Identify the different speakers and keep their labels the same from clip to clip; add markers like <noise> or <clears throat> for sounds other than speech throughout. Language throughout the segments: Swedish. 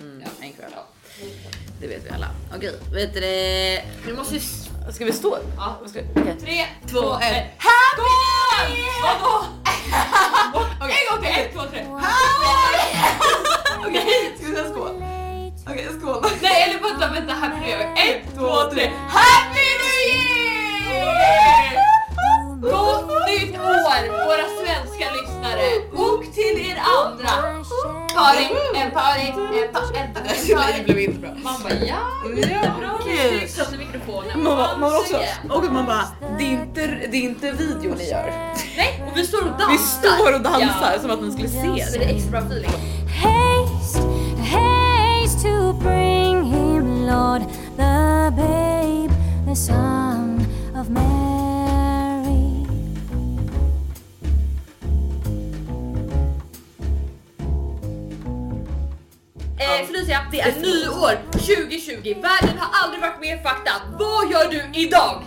Speaker 1: Mm. Det vet vi alla. Okej, vet du det? Vi måste ju... s- Ska vi stå?
Speaker 2: Ja.
Speaker 1: Ska... okej.
Speaker 2: Tre,
Speaker 1: Två, ett.
Speaker 2: Happy New Year! Vadå? En gång till! Ett, två, tre.
Speaker 3: Okej, ska vi säga skål? Okej, skål.
Speaker 2: Nej eller vänta, vänta här blir jag. Ett, två, tre.
Speaker 3: Happy
Speaker 2: New Year! Gott nytt år våra svenska lyssnare och till er andra. Party, en party, en party, en party. En
Speaker 3: Det
Speaker 2: party.
Speaker 3: blev inte bra.
Speaker 2: Man bara ja, bra,
Speaker 1: Kul.
Speaker 2: snyggt satte mikrofonen.
Speaker 1: Man, bara- man var också...
Speaker 2: Yeah.
Speaker 1: Och man bara, det är, inte, det är inte video ni gör.
Speaker 2: Nej, och vi står och dansar.
Speaker 1: Vi står och dansar
Speaker 2: Ja.
Speaker 1: som att ni skulle se
Speaker 2: Så
Speaker 1: det.
Speaker 2: det är extra bra feeling. Eh,
Speaker 4: haste, haste to bring him, Lord, the babe, the son of Mary.
Speaker 2: Eh, Felicia, det är nyår 2020. Världen har aldrig varit mer fucked up. Vad gör du idag?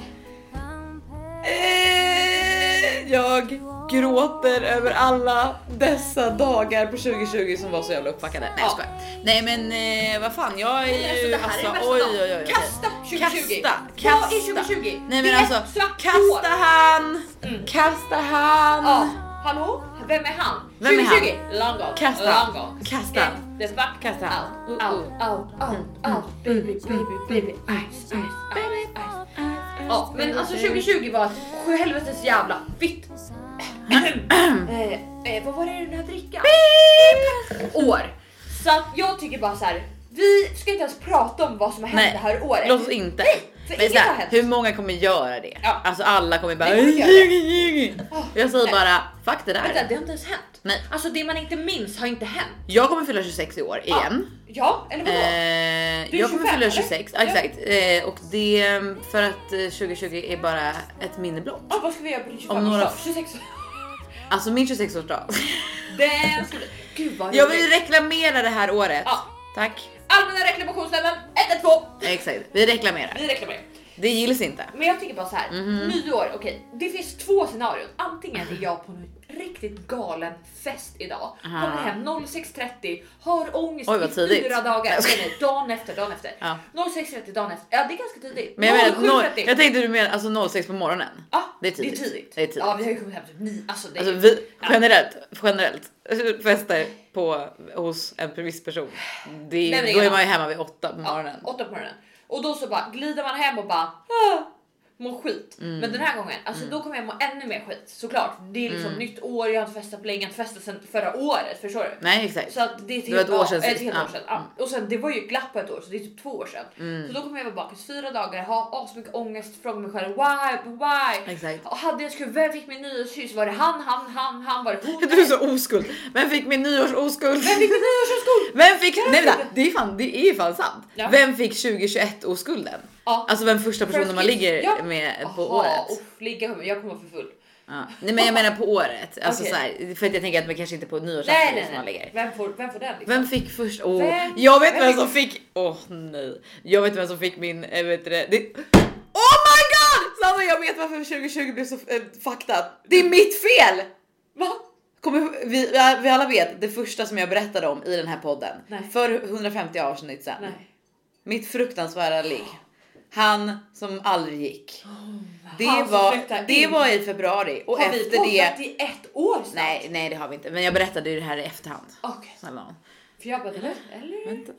Speaker 1: Eh, Jag gråter över alla dessa dagar på 2020 som var så jävla uppfackade. Nej jag
Speaker 2: Ja.
Speaker 1: skojar. Nej men eh, vad fan jag är
Speaker 2: Alltså,
Speaker 1: ju...
Speaker 2: det här är
Speaker 1: alltså,
Speaker 2: värsta
Speaker 1: oj,
Speaker 2: dagen.
Speaker 1: oj, oj, oj.
Speaker 2: Kasta 2020.
Speaker 1: Kasta,
Speaker 2: Vad är
Speaker 1: kasta.
Speaker 2: 2020?
Speaker 1: Nej
Speaker 2: det
Speaker 1: men
Speaker 2: är
Speaker 1: alltså
Speaker 2: ett svart år.
Speaker 1: kasta han,
Speaker 2: Mm.
Speaker 1: kasta han.
Speaker 2: Ja, hallå? Vem är han?
Speaker 1: Vem är han?
Speaker 2: 2020? Långgång.
Speaker 1: Kasta.
Speaker 2: Långgång.
Speaker 1: Kasta.
Speaker 2: Eh, Det är svart.
Speaker 1: Kasta. Mm.
Speaker 2: Out,
Speaker 1: Uh,
Speaker 2: out, out, out, out. Baby, baby, baby. Ice, ice, ice, ice. Ja, men alltså 2020 var ett sjuhelvetes jävla
Speaker 1: <clears throat>
Speaker 2: fitt... eh, eh, vad var det den här drickan? År. Så att jag tycker bara så här. Vi ska inte ens prata om vad som har hänt
Speaker 1: Nej,
Speaker 2: det här året.
Speaker 1: Låt oss inte.
Speaker 2: för
Speaker 1: men
Speaker 2: inget
Speaker 1: så
Speaker 2: har
Speaker 1: här,
Speaker 2: hänt.
Speaker 1: hur många kommer göra det?
Speaker 2: Ja.
Speaker 1: Alltså alla kommer bara...
Speaker 2: Vi kommer göra det.
Speaker 1: Och Jag säger
Speaker 2: Nej.
Speaker 1: bara fuck det
Speaker 2: Vänta,
Speaker 1: där.
Speaker 2: det har inte ens hänt.
Speaker 1: Nej.
Speaker 2: Alltså det man inte minns har inte hänt.
Speaker 1: Jag kommer fylla 26 i år
Speaker 2: Ja.
Speaker 1: igen.
Speaker 2: Ja, eller vadå?
Speaker 1: Eh,
Speaker 2: Du är
Speaker 1: jag kommer
Speaker 2: 25,
Speaker 1: fylla
Speaker 2: eller?
Speaker 1: 26, ja,
Speaker 2: Ja.
Speaker 1: exakt. Eh, och det är för att eh, 2020 är bara ett minne blott.
Speaker 2: Ah, vad ska vi göra på din 25
Speaker 1: Om några-
Speaker 2: 26
Speaker 1: Alltså min 26-årsdag.
Speaker 2: Den ska bli... Gud vad
Speaker 1: Jag
Speaker 2: roligt.
Speaker 1: vill reklamera det här året.
Speaker 2: Ja.
Speaker 1: Tack.
Speaker 2: Allmänna reklamationsnämnden 112.
Speaker 1: Exakt, vi reklamerar.
Speaker 2: Vi reklamerar.
Speaker 1: Det gills inte.
Speaker 2: Men jag tycker bara så här.
Speaker 1: Mhm.
Speaker 2: Nyår, okej. Det finns två scenarion. Antingen är jag på en riktigt galen fest idag.
Speaker 1: Aha.
Speaker 2: Kommer hem 06.30, har ångest
Speaker 1: Oj, vad
Speaker 2: i
Speaker 1: tidigt.
Speaker 2: fyra dagar.
Speaker 1: Nej,
Speaker 2: Nej, nej, dagen efter, dagen efter.
Speaker 1: Ja.
Speaker 2: 06.30, dagen efter. Ja det är ganska tidigt.
Speaker 1: Men jag, menar, noll-
Speaker 2: 07.30.
Speaker 1: jag tänkte du menar alltså 06 på morgonen.
Speaker 2: Ja,
Speaker 1: Det är tidigt.
Speaker 2: Det är tidigt.
Speaker 1: Det är tidigt.
Speaker 2: Ja, vi har ju kommit hem typ nio. Alltså, det är
Speaker 1: Alltså vi, generellt, generellt Alltså, fester på, hos en viss person. Det,
Speaker 2: Nej, men
Speaker 1: då är
Speaker 2: ja.
Speaker 1: man ju hemma vid 8 på
Speaker 2: ja,
Speaker 1: morgonen.
Speaker 2: åtta på morgonen. Och då så bara glider man hem och bara ah, mår skit.
Speaker 1: Mm.
Speaker 2: Men den här gången, alltså då kommer jag må ännu mer skit såklart. Det är
Speaker 1: Mm.
Speaker 2: liksom nytt år, jag har inte festat på länge, jag har inte festat sedan förra året. Förstår du?
Speaker 1: Nej exakt.
Speaker 2: Så att det är ett
Speaker 1: Det var
Speaker 2: helt
Speaker 1: ett år sedan
Speaker 2: ja, ett
Speaker 1: sist.
Speaker 2: helt
Speaker 1: Ja. Mm.
Speaker 2: år sedan. Ja. Och sen det var ju ett glapp på ett år så det är typ två år sedan. Så då kommer jag vara bakis fyra dagar, ha asmycket ångest, fråga mig själv why, why?
Speaker 1: Exakt.
Speaker 2: Och hade jag skruv, vem fick min nyårskyss? Var det han, han, han, han? Var det hon?
Speaker 1: <laughs> Du är så oskuld. Vem fick min nyårsoskuld?
Speaker 2: Vem fick min nyårskyss?
Speaker 1: Vem fick, nej vänta, det är fan, det är fan sant.
Speaker 2: Ja.
Speaker 1: Vem fick 2021 oskulden?
Speaker 2: Ja.
Speaker 1: Alltså vem första personen man
Speaker 2: First
Speaker 1: ligger
Speaker 2: kiss. Ja.
Speaker 1: med på
Speaker 2: Aha,
Speaker 1: året?
Speaker 2: Uff, ligga humör, jag kommer vara för full.
Speaker 1: Ja. Nej men jag menar på året, alltså
Speaker 2: Okej.
Speaker 1: så här, för att jag tänker att man kanske inte på
Speaker 2: Nej,
Speaker 1: nyårsafton
Speaker 2: nej,
Speaker 1: som
Speaker 2: nej.
Speaker 1: man ligger.
Speaker 2: Vem, får, vem får den? Liksom?
Speaker 1: Vem fick först? Åh,
Speaker 2: Vem-
Speaker 1: jag vet vem,
Speaker 2: vem fick-
Speaker 1: som fick. Åh nej, jag vet vem som fick min. Äh, vet du det? det... Oh my god! Sanna, jag vet varför 2020 blev så äh, fucked up. Det är mitt fel!
Speaker 2: Va?
Speaker 1: Kommer, vi, ja, vi alla vet det första som jag berättade om i den här podden
Speaker 2: Nej.
Speaker 1: för 150 avsnitt sedan.
Speaker 2: Nej.
Speaker 1: Mitt fruktansvärda ligg. Han som aldrig gick. Det
Speaker 2: Han som flyttade
Speaker 1: var, det
Speaker 2: in.
Speaker 1: var i februari och
Speaker 2: Har vi
Speaker 1: efter
Speaker 2: poddat
Speaker 1: det.
Speaker 2: i ett år snart?
Speaker 1: Nej, nej, det har vi inte, men jag berättade ju det här i efterhand.
Speaker 2: Okej,
Speaker 1: Snälla nån.
Speaker 2: för jag bara eller? eller?
Speaker 1: Vänta.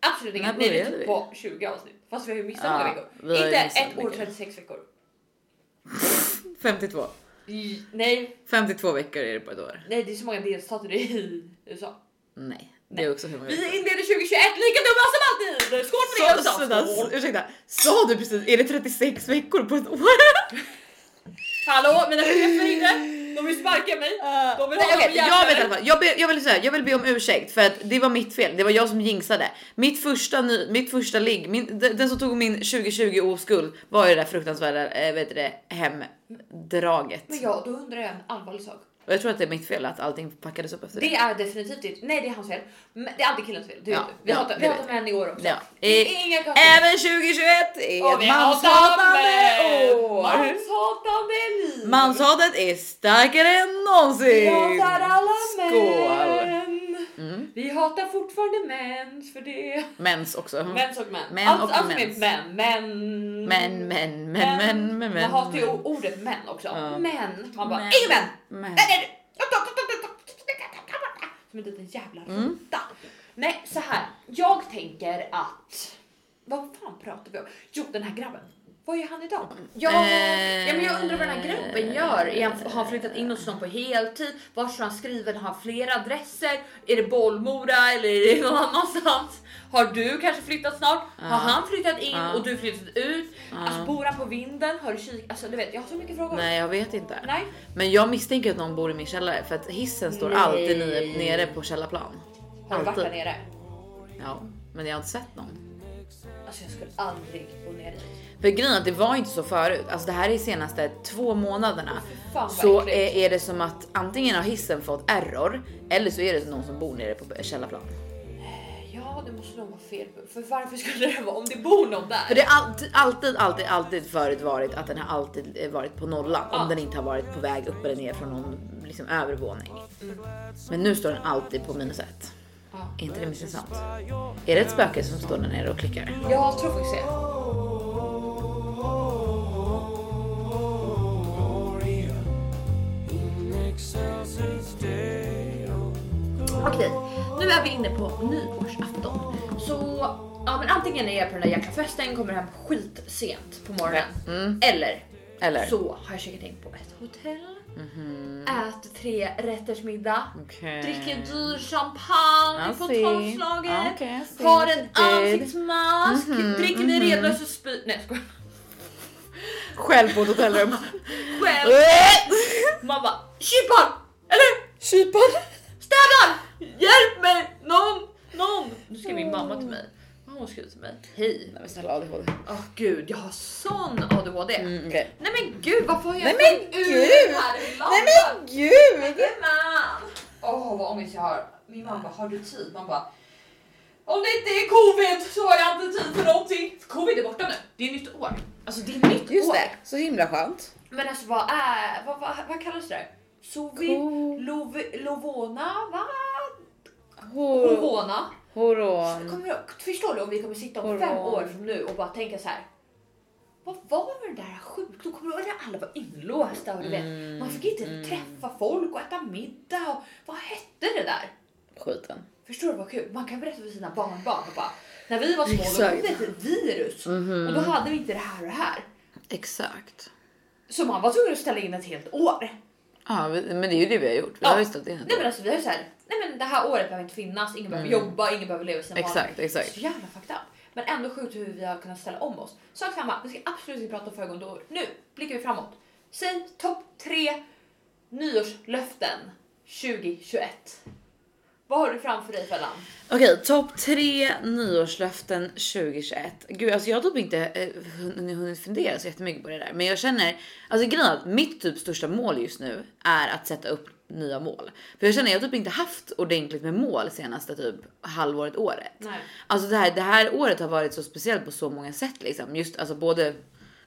Speaker 2: Absolut
Speaker 1: När
Speaker 2: inget. Nej, det är
Speaker 1: började vi?
Speaker 2: typ på 20 avsnitt. Fast vi har ju missat
Speaker 1: Ja,
Speaker 2: många
Speaker 1: vi
Speaker 2: veckor.
Speaker 1: har ju
Speaker 2: Inte
Speaker 1: missat
Speaker 2: ett år
Speaker 1: mycket.
Speaker 2: 36 veckor.
Speaker 1: 52.
Speaker 2: I- Nej,
Speaker 1: 52 veckor är det på ett år.
Speaker 2: nej, det är så många delstater i <laughs> USA.
Speaker 1: Nej, det är också hur många
Speaker 2: Vi
Speaker 1: veckor.
Speaker 2: inleder 2021 lika dumma som alltid! Skål för det
Speaker 1: Så,
Speaker 2: USA!
Speaker 1: sådär,
Speaker 2: Skål.
Speaker 1: ursäkta, sa du precis är det 36 veckor på ett år?
Speaker 2: Hallå mina chefer inne! De vill sparka
Speaker 1: <laughs>
Speaker 2: mig. De vill
Speaker 1: Eh,
Speaker 2: ha
Speaker 1: Nej, okej,
Speaker 2: dem i
Speaker 1: jag vet i
Speaker 2: hjärtat.
Speaker 1: alla fall. Jag, be, jag, vill säga, jag vill be om ursäkt för att det var mitt fel. Det var jag som jinxade. Mitt första, ny, mitt första ligg, min, d- den som tog min 2020 oskuld var ju det där fruktansvärda eh, vet du det, hemdraget.
Speaker 2: Men ja, då undrar jag en allvarlig sak.
Speaker 1: Och jag tror att det är mitt fel att allting packades upp efter det.
Speaker 2: Det är definitivt ditt. Nej, det är hans fel. Men det är alltid killens fel. Du,
Speaker 1: Ja,
Speaker 2: vet vi
Speaker 1: ja,
Speaker 2: hatar,
Speaker 1: det
Speaker 2: vi
Speaker 1: vet
Speaker 2: hatar män i år också.
Speaker 1: Ja.
Speaker 2: Det
Speaker 1: Eh,
Speaker 2: är inga konstigheter.
Speaker 1: Även 2021 är
Speaker 2: Och
Speaker 1: ett
Speaker 2: vi hatar
Speaker 1: manshatande
Speaker 2: män.
Speaker 1: år.
Speaker 2: Manshatande liv.
Speaker 1: Manshatet är starkare än någonsin!
Speaker 2: Vi hatar alla
Speaker 1: Skål!
Speaker 2: män.
Speaker 1: Mm.
Speaker 2: Vi hatar fortfarande mens för det.
Speaker 1: Mens också.
Speaker 2: Mens och män.
Speaker 1: Mm. Män
Speaker 2: allt
Speaker 1: och
Speaker 2: allt som är
Speaker 1: mens.
Speaker 2: män. Män.
Speaker 1: Men, men, men, men, men, men.
Speaker 2: Man hatar ju ordet män också.
Speaker 1: Ja.
Speaker 2: Män. Man bara,
Speaker 1: Män.
Speaker 2: inga män.
Speaker 1: Men.
Speaker 2: Nej, nej, nej. Som en liten jävla
Speaker 1: Mm.
Speaker 2: råtta. Nej, så här. Jag tänker att... Vad fan pratar vi om? Jo, den här grabben. Vad gör han idag? Ja,
Speaker 1: Eh.
Speaker 2: ja men jag undrar vad den här grabben gör. Är han, har han flyttat in hos någon på heltid? Var tror han skriver? Har han flera adresser? Är det Bollmora eller är det någon annanstans? Har du kanske flyttat snart?
Speaker 1: Ja.
Speaker 2: Har han flyttat in
Speaker 1: Ja.
Speaker 2: och du flyttat ut?
Speaker 1: Ja.
Speaker 2: Alltså, bor han på vinden? Har du kik? Alltså, du vet, jag har så mycket frågor.
Speaker 1: Nej, jag vet inte.
Speaker 2: Nej.
Speaker 1: Men jag misstänker att någon bor i min källare för att hissen står
Speaker 2: Nej.
Speaker 1: alltid nere- nere på källarplan.
Speaker 2: Har du varit
Speaker 1: Alltid.
Speaker 2: där nere?
Speaker 1: Ja, men jag har inte sett någon.
Speaker 2: Alltså jag skulle aldrig gå ner dit.
Speaker 1: För grejen är att det var inte så förut. Alltså det här är senaste två månaderna.
Speaker 2: Fy fan vad
Speaker 1: Så eh,
Speaker 2: äckligt.
Speaker 1: är, är det som att antingen har hissen fått error eller så är det någon som bor nere på källarplan.
Speaker 2: Ja, det måste nog vara fel. För varför skulle det vara om det bor någon
Speaker 1: För
Speaker 2: där?
Speaker 1: det har alltid, alltid, alltid, alltid förut varit att den har alltid eh, varit på nollan
Speaker 2: Ja.
Speaker 1: om den inte har varit på väg upp eller ner från någon liksom, övervåning.
Speaker 2: Mm.
Speaker 1: Men nu står den alltid på minus ett.
Speaker 2: Ja.
Speaker 1: Är inte det intressant? Är det ett spöke som står där nere och klickar?
Speaker 2: Jag tror faktiskt det. Okej, nu är vi inne på nyårsafton. Så ja, men antingen är jag på den där jäkla festen, kommer hem skitsent på morgonen. mm. Eller, Mhm.
Speaker 1: Eller?
Speaker 2: så har jag checkat in på ett hotell, ätit tre rätters middag,
Speaker 1: Okej.
Speaker 2: dricker dyr champagne
Speaker 1: I
Speaker 2: på
Speaker 1: see.
Speaker 2: tolvslaget,
Speaker 1: Okej, I see
Speaker 2: har
Speaker 1: what
Speaker 2: en
Speaker 1: you did.
Speaker 2: ansiktsmask,
Speaker 1: Mhm,
Speaker 2: dricker mig redlös och spyr. Nej jag skojar.
Speaker 1: Själv på ett hotellrum. <laughs> Eh!
Speaker 2: Själv. Man bara kypar! Eller
Speaker 1: Kyparen!
Speaker 2: städar! Hjälp mig! Någon! Någon! Nu skrev min mamma till mig. Vad har hon skrivit till mig? Hej!
Speaker 1: Nej men snälla ADHD.
Speaker 2: Åh gud, jag har sån ADHD.
Speaker 1: Mm, okej.
Speaker 2: Nej men gud, varför har jag
Speaker 1: Nej, men
Speaker 2: kommit ur
Speaker 1: gud!
Speaker 2: den här lampan?
Speaker 1: gud!
Speaker 2: Jajamän! Åh vad ångest jag har. Min mamma bara, har du tid? Man bara, om det inte är covid så har jag inte tid för någonting. För covid är borta nu, det är nytt år. Alltså det är nytt
Speaker 1: Just
Speaker 2: år.
Speaker 1: det, så himla skönt.
Speaker 2: Men alltså vad är, vad, vad, vad kallas det? Sovi,
Speaker 1: Ko-
Speaker 2: lov, lovona, va?
Speaker 1: Hor-
Speaker 2: Corona.
Speaker 1: Horon.
Speaker 2: Kommer du, förstår du om vi kommer sitta om
Speaker 1: Corona.
Speaker 2: fem år från nu och bara tänka så här. Vad var den där sjukdomen? Kommer du ihåg när alla var inlåsta? Och du vet, man fick
Speaker 1: Mm,
Speaker 2: inte träffa folk och äta middag. Och, vad hette det där?
Speaker 1: Skiten.
Speaker 2: Förstår du vad kul? Man kan berätta för sina barnbarn och bara, när vi var små då
Speaker 1: Exakt. Mhm.
Speaker 2: kom det ett virus och då hade vi inte det här och det här.
Speaker 1: Exakt.
Speaker 2: Så man var tvungen att ställa in ett helt år.
Speaker 1: Ja vi- men det är ju det vi har gjort. Vi
Speaker 2: Ja.
Speaker 1: har ju ställt in
Speaker 2: Nej men
Speaker 1: det.
Speaker 2: alltså vi har ju såhär, nej men det här året behöver inte finnas, ingen behöver jobba, ingen behöver leva sina
Speaker 1: Mm. Exakt,
Speaker 2: vanor.
Speaker 1: exakt.
Speaker 2: Så jävla fucked up. Men ändå sjukt hur vi har kunnat ställa om oss. Sak samma, vi ska absolut inte prata om föregående år. Nu blickar vi framåt. Säg topp tre nyårslöften 2021. Vad har du framför dig Fellan?
Speaker 1: Okej, topp tre nyårslöften 2021. Gud, alltså jag har typ inte eh, hun- hunnit fundera så jättemycket på det där, men jag känner alltså grejen är att mitt typ största mål just nu är att sätta upp nya mål, för jag känner jag har typ inte haft ordentligt med mål senaste typ halvåret året.
Speaker 2: Nej.
Speaker 1: Alltså det här, det här året har varit så speciellt på så många sätt liksom. Just alltså både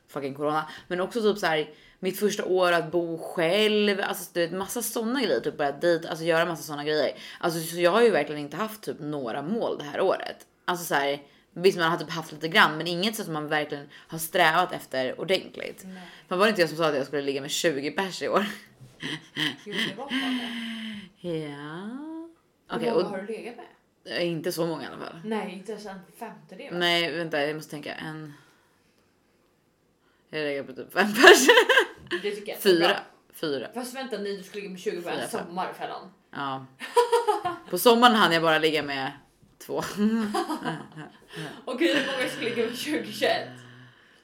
Speaker 1: fucking corona, men också typ så här mitt första år att bo själv, alltså du vet massa sådana grejer, typ börja dejta, alltså göra massa sådana grejer. Alltså så jag har ju verkligen inte haft typ några mål det här året. Alltså så här, visst man har typ haft lite grann, men inget så som man verkligen har strävat efter ordentligt. Men var det inte jag som sa att jag skulle ligga med 20 pers i år? <laughs>
Speaker 2: Gud, det var fan det.
Speaker 1: Ja.
Speaker 2: Hur
Speaker 1: Okej,
Speaker 2: många har du legat med?
Speaker 1: och inte så många i alla fall.
Speaker 2: Nej, inte ens en femtedel.
Speaker 1: Nej vänta jag måste tänka en. Jag lägger på typ fem personer.
Speaker 2: <laughs> Det tycker jag är
Speaker 1: Fyra.
Speaker 2: bra.
Speaker 1: Fyra.
Speaker 2: Fast vänta ni, du skulle ligga med 20 på
Speaker 1: Fyra,
Speaker 2: en
Speaker 1: fem.
Speaker 2: sommar Fellan.
Speaker 1: Ja. På sommaren hann jag bara ligga med
Speaker 2: <laughs>
Speaker 1: två.
Speaker 2: Okej, hur många skulle ligga med 2021?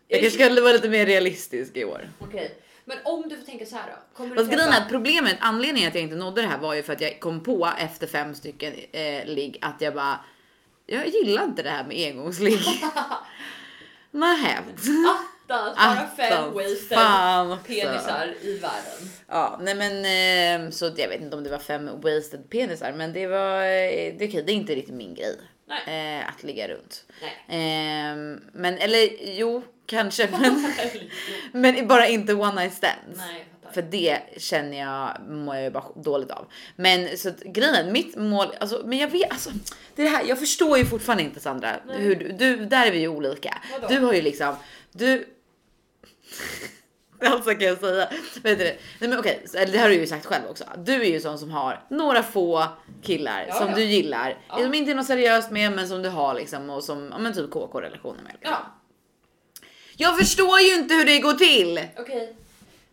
Speaker 1: Jag kanske skulle vara lite mer realistisk i år.
Speaker 2: Okej, men om du får tänka så här då. Kommer
Speaker 1: Fast
Speaker 2: du
Speaker 1: grejen är att problemet, anledningen att jag inte nådde det här var ju för att jag kom på efter fem stycken eh, ligg att jag bara, jag gillar inte det här med engångsligg.
Speaker 2: <laughs>
Speaker 1: Nähä.
Speaker 2: attans bara fem
Speaker 1: Attans,
Speaker 2: wasted
Speaker 1: Alltså, fan också.
Speaker 2: penisar i världen?
Speaker 1: Ja, nej men eh, så att jag vet inte om det var fem wasted penisar, men det var eh, det, är okej, det är inte riktigt min grej
Speaker 2: Nej.
Speaker 1: eh, att ligga runt. <laughs>
Speaker 2: Nej.
Speaker 1: Eh, <laughs> men eller jo, kanske, men, men bara inte one night stands.
Speaker 2: Nej, jag fattar.
Speaker 1: För det känner jag, mår jag ju bara dåligt av. Men så att, grejen är, mitt mål, alltså, men jag vet, alltså, det är det här, jag förstår ju fortfarande inte Sandra, hur du, du, där är vi ju olika.
Speaker 2: Vadå?
Speaker 1: Du har ju liksom, du... <laughs> Alltså kan jag säga. Vet du, det? nej men okej, så- eller det har du ju sagt själv också. Du är ju sån som har några få killar
Speaker 2: Ja,
Speaker 1: som
Speaker 2: ja.
Speaker 1: du gillar,
Speaker 2: Ja.
Speaker 1: som inte är något seriöst med men som du har liksom och som, ja men typ KK-relationer med. Liksom.
Speaker 2: Ja,
Speaker 1: Jag förstår ju inte hur det går till!
Speaker 2: okej.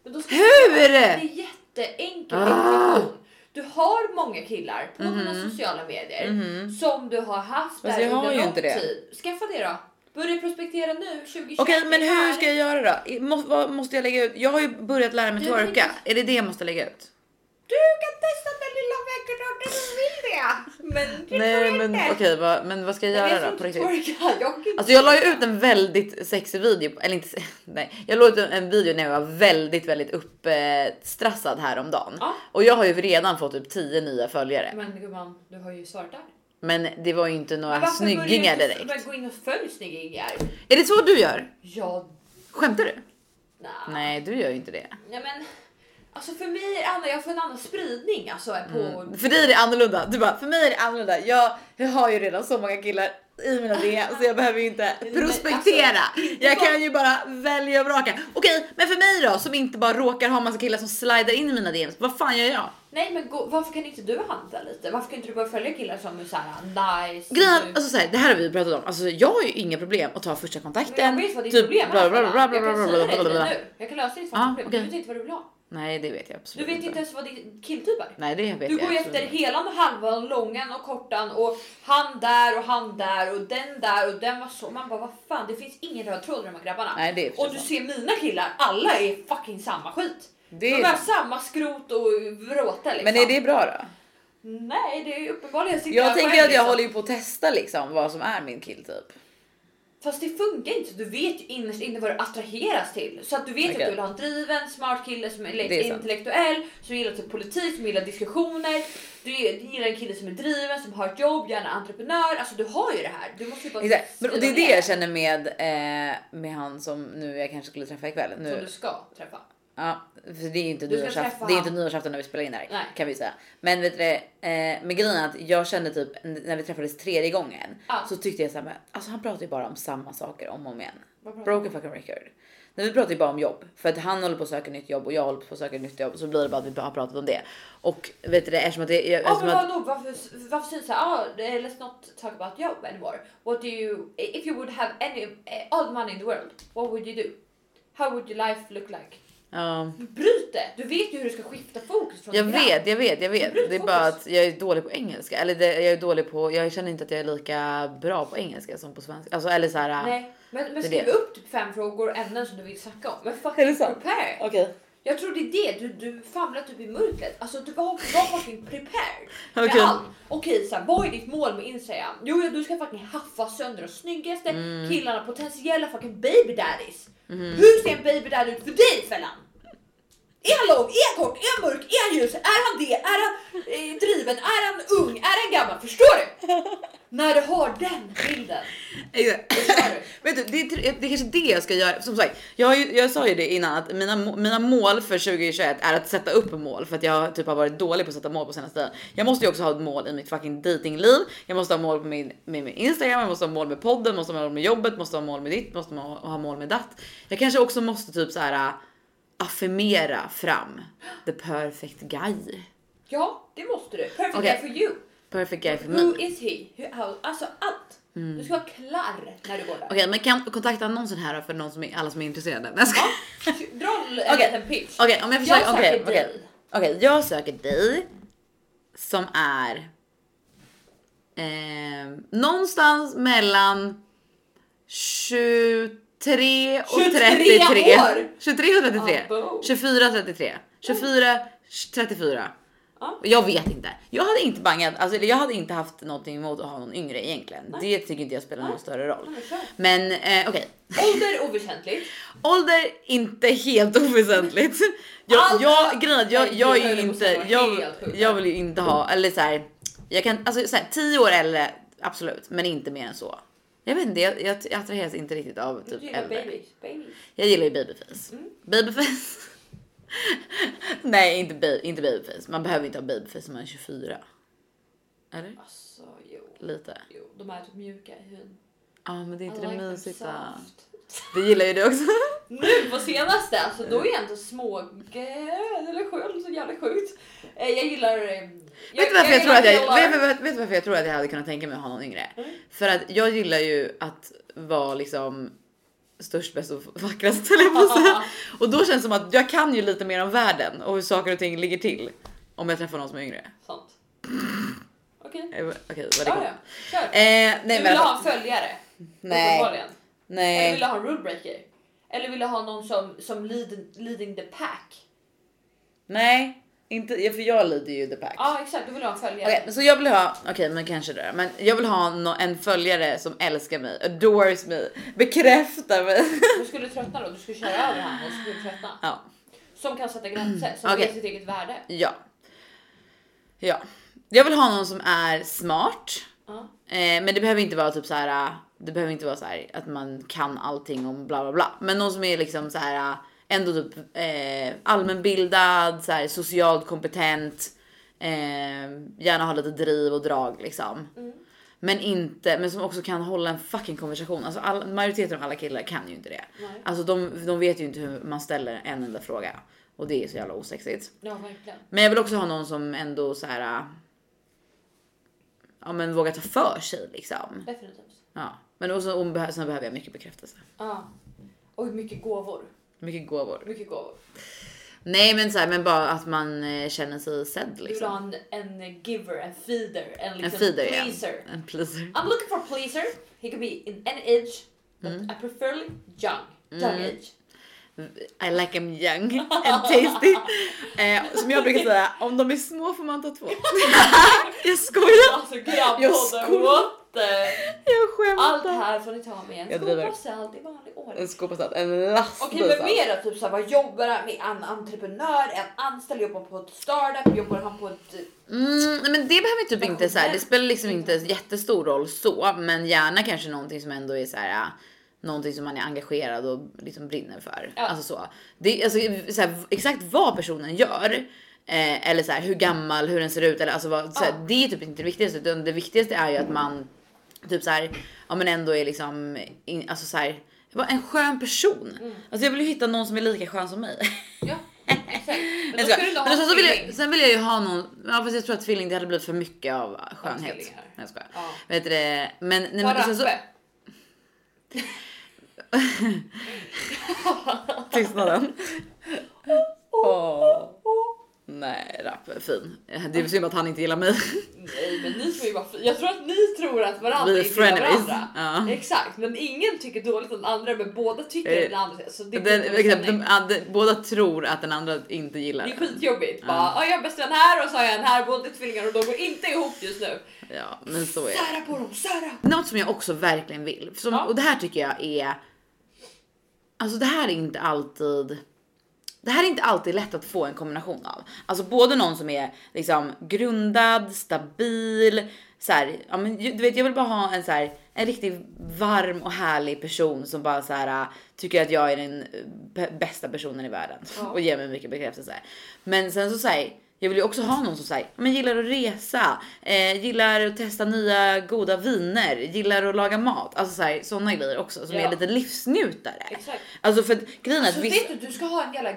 Speaker 2: Men då ska
Speaker 1: Hur? Ah.
Speaker 2: Det är jätteenkel ekvation. Du har många killar på
Speaker 1: Mhm.
Speaker 2: dina sociala medier som du har haft
Speaker 1: Fast
Speaker 2: där
Speaker 1: Mhm. jag har
Speaker 2: under
Speaker 1: ju
Speaker 2: lång
Speaker 1: inte det.
Speaker 2: tid. Skaffa det då. Börja prospektera nu 2021.
Speaker 1: Okej men
Speaker 2: Det
Speaker 1: hur
Speaker 2: här-
Speaker 1: ska jag göra då? I- må- Vad måste jag lägga ut? Jag har ju börjat lära mig
Speaker 2: Du
Speaker 1: twerka,
Speaker 2: tänker-
Speaker 1: är det det jag måste lägga ut?
Speaker 2: Du kan testa den lilla väggen om du vill det. Men du
Speaker 1: Nej
Speaker 2: får
Speaker 1: men
Speaker 2: inte.
Speaker 1: okej vad, men vad ska jag
Speaker 2: Jag
Speaker 1: göra
Speaker 2: vet
Speaker 1: då? På
Speaker 2: inte
Speaker 1: riktigt?
Speaker 2: twerka. Jag kan inte.
Speaker 1: Alltså jag la ju ut en väldigt sexig video, eller inte, <laughs> nej, jag la ut en- en video när jag var väldigt, väldigt uppstrassad häromdagen.
Speaker 2: Ja.
Speaker 1: Och jag har ju redan fått typ 10 nya följare.
Speaker 2: Men gumman, du har ju svarat där.
Speaker 1: Men det var ju inte några
Speaker 2: Men varför
Speaker 1: snyggingar
Speaker 2: börjar du
Speaker 1: direkt.
Speaker 2: inte- Men gå in och följ snyggingar.
Speaker 1: Är det så du gör?
Speaker 2: Ja,
Speaker 1: Skämtar du?
Speaker 2: nej.
Speaker 1: Nej, du gör ju inte det.
Speaker 2: nej men alltså för mig är det annorlunda. Jag får en annan spridning alltså på.
Speaker 1: Mm. För dig är det annorlunda. Du bara, för mig är det annorlunda. Jag, jag har ju redan så många killar i mina DM så jag behöver ju inte prospektera.
Speaker 2: alltså,
Speaker 1: Jag kan ju bara välja och vraka. Okej, men för mig då som inte bara råkar ha massa killar som slider in i mina DMs, vad fan gör jag?
Speaker 2: Nej men gå, varför kan inte du handla lite? Varför kan inte du börja följa killar som är såhär nice?
Speaker 1: Grejen,
Speaker 2: nu-
Speaker 1: alltså så här, det här har vi pratat om. Alltså jag har ju inga problem att ta första kontakten. Typ
Speaker 2: Men jag vet vad ditt problem är.
Speaker 1: bla, bla, bla, bla,
Speaker 2: Hanna.
Speaker 1: bla,
Speaker 2: jag
Speaker 1: bla,
Speaker 2: kan
Speaker 1: bla,
Speaker 2: säga
Speaker 1: bla,
Speaker 2: det
Speaker 1: bla,
Speaker 2: till
Speaker 1: bla.
Speaker 2: dig nu. Jag kan lösa ditt
Speaker 1: Ah,
Speaker 2: första problem.
Speaker 1: okej.
Speaker 2: Du vet inte vad du vill ha.
Speaker 1: Nej, det vet jag absolut
Speaker 2: Du vet inte ens vad din killtyp är.
Speaker 1: Nej, det vet
Speaker 2: Du
Speaker 1: jag
Speaker 2: går ju
Speaker 1: absolut
Speaker 2: efter
Speaker 1: inte.
Speaker 2: helan och halvan, långan och kortan och han där och han där och den där och den var så. Man bara vad fan, det finns ingen röd tråd i de här grabbarna.
Speaker 1: Nej, det är för
Speaker 2: och du
Speaker 1: sant.
Speaker 2: ser mina killar, alla är fucking samma skit.
Speaker 1: Det
Speaker 2: De
Speaker 1: är-
Speaker 2: har samma skrot och vråte liksom.
Speaker 1: Men är det bra då?
Speaker 2: Nej, det är ju uppenbarligen sitter
Speaker 1: Jag
Speaker 2: här
Speaker 1: tänker
Speaker 2: själv,
Speaker 1: att jag
Speaker 2: liksom.
Speaker 1: håller ju på att testa liksom vad som är min typ. killtyp.
Speaker 2: Fast det funkar inte. Du vet ju innerst inne vad du attraheras till. Så att du vet ju
Speaker 1: Okej.
Speaker 2: att du vill ha en driven, smart kille som är,
Speaker 1: Det är sant.
Speaker 2: intellektuell, som gillar typ politik, som gillar diskussioner. Du gillar en kille som är driven, som har ett jobb, gärna entreprenör. Alltså du har ju det här. Du måste ju bara
Speaker 1: Exakt. Men, och det är
Speaker 2: skriva
Speaker 1: det
Speaker 2: ner
Speaker 1: jag känner med, eh, med han som nu jag kanske skulle träffa ikväll.
Speaker 2: Som
Speaker 1: Nu,
Speaker 2: du ska träffa.
Speaker 1: ja, för det är ju inte,
Speaker 2: Du ska
Speaker 1: nyårsaft,
Speaker 2: träffa
Speaker 1: det är
Speaker 2: han.
Speaker 1: inte nyårsafton när vi spelar in det här
Speaker 2: Nej.
Speaker 1: kan vi säga. Men vet du det, eh, med grejen är att jag kände typ n- när vi träffades tredje gången
Speaker 2: Ja.
Speaker 1: så tyckte jag såhär, alltså han pratar ju bara om samma saker om och om igen.
Speaker 2: Vad pratar
Speaker 1: Broken fucking record. Nej, vi pratar ju bara om jobb för att han håller på att söka nytt jobb och jag håller på att söka nytt jobb så blir det bara att vi bara har pratat om det. Och vet du det eftersom att det jag,
Speaker 2: Ja
Speaker 1: eftersom
Speaker 2: men
Speaker 1: att,
Speaker 2: vadå varför, varför syns det såhär, ah, let's not talk about job anymore. What do you, if you would have any, eh, all the money in the world, what would you do? How would your life look like?
Speaker 1: ja.
Speaker 2: Bryt det! Du vet ju hur du ska skifta fokus från
Speaker 1: Jag
Speaker 2: det där.
Speaker 1: vet, jag vet, jag
Speaker 2: Det
Speaker 1: vet.
Speaker 2: beror
Speaker 1: Det är
Speaker 2: på
Speaker 1: bara
Speaker 2: oss.
Speaker 1: att jag är dålig på engelska. Eller det, jag är dålig på, jag känner inte att jag är lika bra på engelska som på svenska. Alltså eller såhär.
Speaker 2: Nej, men, men
Speaker 1: Det är
Speaker 2: skriv
Speaker 1: det.
Speaker 2: upp typ fem frågor och ämnen som du vill snacka om. Men
Speaker 1: Är det
Speaker 2: fucking
Speaker 1: sant?
Speaker 2: prepare!
Speaker 1: Okej.
Speaker 2: Jag tror det är det, du, du famlar typ i mörkret. Alltså du var, var fucking prepared med
Speaker 1: <laughs> Okej.
Speaker 2: allt. Okej, så här, vad är ditt mål med Instagram? Jo, ja, du ska fucking haffa sönder de snyggaste
Speaker 1: Mm.
Speaker 2: killarna, potentiella fucking baby daddies. Hur ser en baby daddy ut för dig Fällan? Är han lång? Är han kort? Är han mörk? Är han ljus? Är han det? Är han eh, driven? Är han ung? Är han gammal? Förstår
Speaker 1: <laughs>
Speaker 2: du? När du har den bilden.
Speaker 1: Exakt.
Speaker 2: förstår du?
Speaker 1: Vet du, det, är, det är kanske det jag ska göra. Som sagt, jag, har ju, jag sa ju det innan att mina, må- mina mål för 2021 är att sätta upp mål för att jag typ har varit dålig på att sätta mål på senaste tiden. Jag måste ju också ha ett mål i mitt fucking datingliv. Jag måste ha mål på min, med min Instagram, jag måste ha mål med podden, måste ha mål med jobbet, måste ha mål med ditt, måste ha, ha mål med datt. Jag kanske också måste typ så här äh, affirmera fram the perfect guy.
Speaker 2: Ja, det måste du. Perfect
Speaker 1: Okej.
Speaker 2: guy for you.
Speaker 1: Perfect guy för mig.
Speaker 2: Who is he? Hur, how, alltså allt. Du ska vara klar när du går där.
Speaker 1: Mm. Okej, men kan kontakta annonsen här då för någon som är, alla som är intresserade. Nej, jag skojar.
Speaker 2: Dra en
Speaker 1: Okej.
Speaker 2: liten pitch.
Speaker 1: Okej, om jag försöker.
Speaker 2: Jag
Speaker 1: Okej,
Speaker 2: söker
Speaker 1: okej.
Speaker 2: dig.
Speaker 1: Okej, jag söker dig som är eh, någonstans mellan 23 och
Speaker 2: 23
Speaker 1: 33.
Speaker 2: år!
Speaker 1: 23 och 33.
Speaker 2: Abo.
Speaker 1: 24 och 33. 24 34.
Speaker 2: Ja.
Speaker 1: Jag vet inte. Jag hade inte bangat, alltså, eller jag hade inte haft någonting emot att ha någon yngre egentligen. Det tycker inte jag spelar någon större roll.
Speaker 2: men kör.
Speaker 1: Men eh, okej.
Speaker 2: Ålder oväsentligt.
Speaker 1: Ålder inte helt oväsentligt. Jag,
Speaker 2: Allt-
Speaker 1: jag, grejen är att jag,
Speaker 2: Nej,
Speaker 1: jag
Speaker 2: du
Speaker 1: är ju
Speaker 2: höll på att
Speaker 1: inte,
Speaker 2: säga
Speaker 1: jag,
Speaker 2: helt sjukt.
Speaker 1: jag vill ju inte ha, eller så här, jag kan, alltså så här, 10 år äldre, absolut, men inte mer än så. Jag vet inte, jag, jag, jag attraheras inte riktigt av
Speaker 2: Du
Speaker 1: <laughs> typ
Speaker 2: gillar Mm.
Speaker 1: äldre.
Speaker 2: babies. babies.
Speaker 1: Jag gillar ju babyface. <laughs> Babyface. Nej, inte, ba- inte babyface. Man behöver inte ha babyface när man är 24. Eller?
Speaker 2: Alltså jo,
Speaker 1: Lite.
Speaker 2: jo. De är typ mjuka i hyn.
Speaker 1: Ja, men det är
Speaker 2: I
Speaker 1: inte det
Speaker 2: like them
Speaker 1: mysiga.
Speaker 2: soft.
Speaker 1: Det gillar ju du också.
Speaker 2: Nu på senaste, alltså då är jag inte smågöd eller sköld så jävla sjukt. Eh, Jag gillar... eh,
Speaker 1: vet, du varför jag
Speaker 2: gillar
Speaker 1: tror att jag,
Speaker 2: killar.
Speaker 1: vet, du- vet, vet du varför jag tror att jag hade kunnat tänka mig att ha någon yngre?
Speaker 2: Mm.
Speaker 1: För att jag gillar ju att vara liksom störst, bäst och vackrast höll jag på
Speaker 2: <laughs>
Speaker 1: att säga. Och då känns det som att jag kan ju lite mer om världen och hur saker och ting ligger till. Om jag träffar någon som är yngre.
Speaker 2: Sant. Okej.
Speaker 1: Eh, Okej, vad det
Speaker 2: Ja,
Speaker 1: går.
Speaker 2: ja. Kör.
Speaker 1: Eh, nej,
Speaker 2: du
Speaker 1: men,
Speaker 2: ville ha en följare.
Speaker 1: nej,
Speaker 2: uppenbarligen. Eller
Speaker 1: nej.
Speaker 2: ville ha en rule breaker. Eller ville ha någon som, som lead, leading the pack.
Speaker 1: Nej, inte ja, för jag lider ju the pack.
Speaker 2: Ja exakt, du vill ha en följare.
Speaker 1: Okej, men så jag vill ha, okej men kanske det, men jag vill ha nå- en följare som älskar mig, adores mig, bekräftar mig. <laughs>
Speaker 2: Du skulle tröttna då, du skulle köra över honom och så skulle du tröttna.
Speaker 1: Ja.
Speaker 2: Som kan sätta gränser, som
Speaker 1: Okej.
Speaker 2: vet sitt eget värde.
Speaker 1: Ja. Ja. Jag vill ha någon som är smart,
Speaker 2: Ja.
Speaker 1: eh, men det behöver inte vara typ så här. eh, Det behöver inte vara så här att man kan allting om bla bla bla, men någon som är liksom så här eh, ändå typ eh, allmänbildad, så här socialt kompetent, eh, gärna ha lite driv och drag liksom. Men inte, men som också kan hålla en fucking konversation. Alltså all, majoriteten av alla killar kan ju inte det.
Speaker 2: Nej.
Speaker 1: Alltså de, de vet ju inte hur man ställer en enda fråga och det är så jävla osexigt.
Speaker 2: Ja verkligen.
Speaker 1: Men jag vill också ha någon som ändå så här. äh, Ja, men vågar ta för sig liksom.
Speaker 2: Definitivt.
Speaker 1: Ja, men också, och behö- sen behöver jag mycket bekräftelse,
Speaker 2: Ja. Och mycket gåvor.
Speaker 1: mycket gåvor.
Speaker 2: Mycket gåvor.
Speaker 1: Nej, men så här, men bara att man eh, känner sig sedd
Speaker 2: Du vill ha
Speaker 1: liksom.
Speaker 2: en, en giver, en feeder, en, liksom
Speaker 1: En feeder igen.
Speaker 2: pleaser.
Speaker 1: En pleaser.
Speaker 2: I'm looking for a pleaser. He could be in any age, but
Speaker 1: Mm.
Speaker 2: I preferably young. Young age.
Speaker 1: I like them young
Speaker 2: <laughs>
Speaker 1: and tasty. Eh, som jag brukar säga, om de är små får man ta
Speaker 2: <laughs>
Speaker 1: två. jag skojar!
Speaker 2: Alltså grabbpodden,
Speaker 1: Jag skojar.
Speaker 2: what the...
Speaker 1: Jag
Speaker 2: Allt
Speaker 1: skämtar!
Speaker 2: här får ni ta med en
Speaker 1: Jag driver.
Speaker 2: skopa salt i vanlig ordning.
Speaker 1: En alltså. skopa salt, en lastbil
Speaker 2: Okej men
Speaker 1: salt.
Speaker 2: mer då, typ såhär, vad jobbar han med? En entreprenör, en anställd, jobbar på ett startup, jobbar han på ett... eh,
Speaker 1: <laughs> Mm, nej, men det behöver typ inte så här. Det spelar liksom inte
Speaker 2: Passionerat.
Speaker 1: jättestor roll så, men gärna kanske någonting som ändå är så här. äh, Någonting som man är engagerad och liksom brinner för.
Speaker 2: Ja.
Speaker 1: Alltså så. Det, alltså, så här, exakt vad personen gör. Eh, eller så här, hur gammal, hur den ser ut. Eller, alltså, vad, så här,
Speaker 2: Ja.
Speaker 1: Det är typ inte det viktigaste. Utan det viktigaste är ju att man typ så här, ja men ändå är liksom, in, alltså så här, bara en skön person.
Speaker 2: Mm.
Speaker 1: Alltså jag vill ju hitta någon som är lika skön som mig.
Speaker 2: Ja, exakt. Men då
Speaker 1: Jag
Speaker 2: ska
Speaker 1: skojar.
Speaker 2: du inte ha
Speaker 1: Alltså, Men sen, så vill
Speaker 2: tvilling.
Speaker 1: jag, sen vill jag ju ha någon, ja fast jag tror att tvilling det hade blivit för mycket av skönhet. Nej
Speaker 2: tvillingar.
Speaker 1: jag skojar.
Speaker 2: Ja.
Speaker 1: Vet du det, men, nej,
Speaker 2: Ta
Speaker 1: men sen så, <laughs>
Speaker 2: rappe. <laughs>
Speaker 1: tystnaden. Åh. Nej rapp är fin. Det är väl synd att han inte gillar mig.
Speaker 2: Nej men ni tror ju bara Jag tror att ni tror att varandra
Speaker 1: Vi är
Speaker 2: inte gillar
Speaker 1: frenemies.
Speaker 2: varandra.
Speaker 1: Ja.
Speaker 2: Exakt men ingen tycker dåligt om den andra men båda tycker
Speaker 1: Eh,
Speaker 2: om den andra. Så det, är
Speaker 1: Den,
Speaker 2: skitdålig
Speaker 1: exakt, de,
Speaker 2: stämning.
Speaker 1: ja, de, båda tror att den andra inte gillar
Speaker 2: det är
Speaker 1: den.
Speaker 2: skitjobbigt. Bara, "Ah, jag har bäst vän här och så har jag en här, båda är tvillingar och de går inte ihop just nu.
Speaker 1: Ja men så är det.
Speaker 2: Sära på dem, sära!
Speaker 1: Något som jag också verkligen vill, som,
Speaker 2: Ja.
Speaker 1: och det här tycker jag är... Alltså det här är inte alltid... Det här är inte alltid lätt att få en kombination av. Alltså både någon som är liksom grundad, stabil, så här, ja men ju- du vet jag vill bara ha en så här, en riktigt varm och härlig person som bara så här äh, tycker att jag är den eh, b- bästa personen i världen
Speaker 2: Ja.
Speaker 1: och ger mig mycket bekräftelse. Men sen så säger jag vill ju också ha någon som säger, men gillar att resa, eh, gillar att testa nya goda viner, gillar att laga mat, alltså så här, såna grejer också som
Speaker 2: Ja.
Speaker 1: är lite livsnjutare.
Speaker 2: Exakt.
Speaker 1: Alltså för att grejen är att
Speaker 2: Alltså,
Speaker 1: vissa,
Speaker 2: vet du, du ska ha en jävla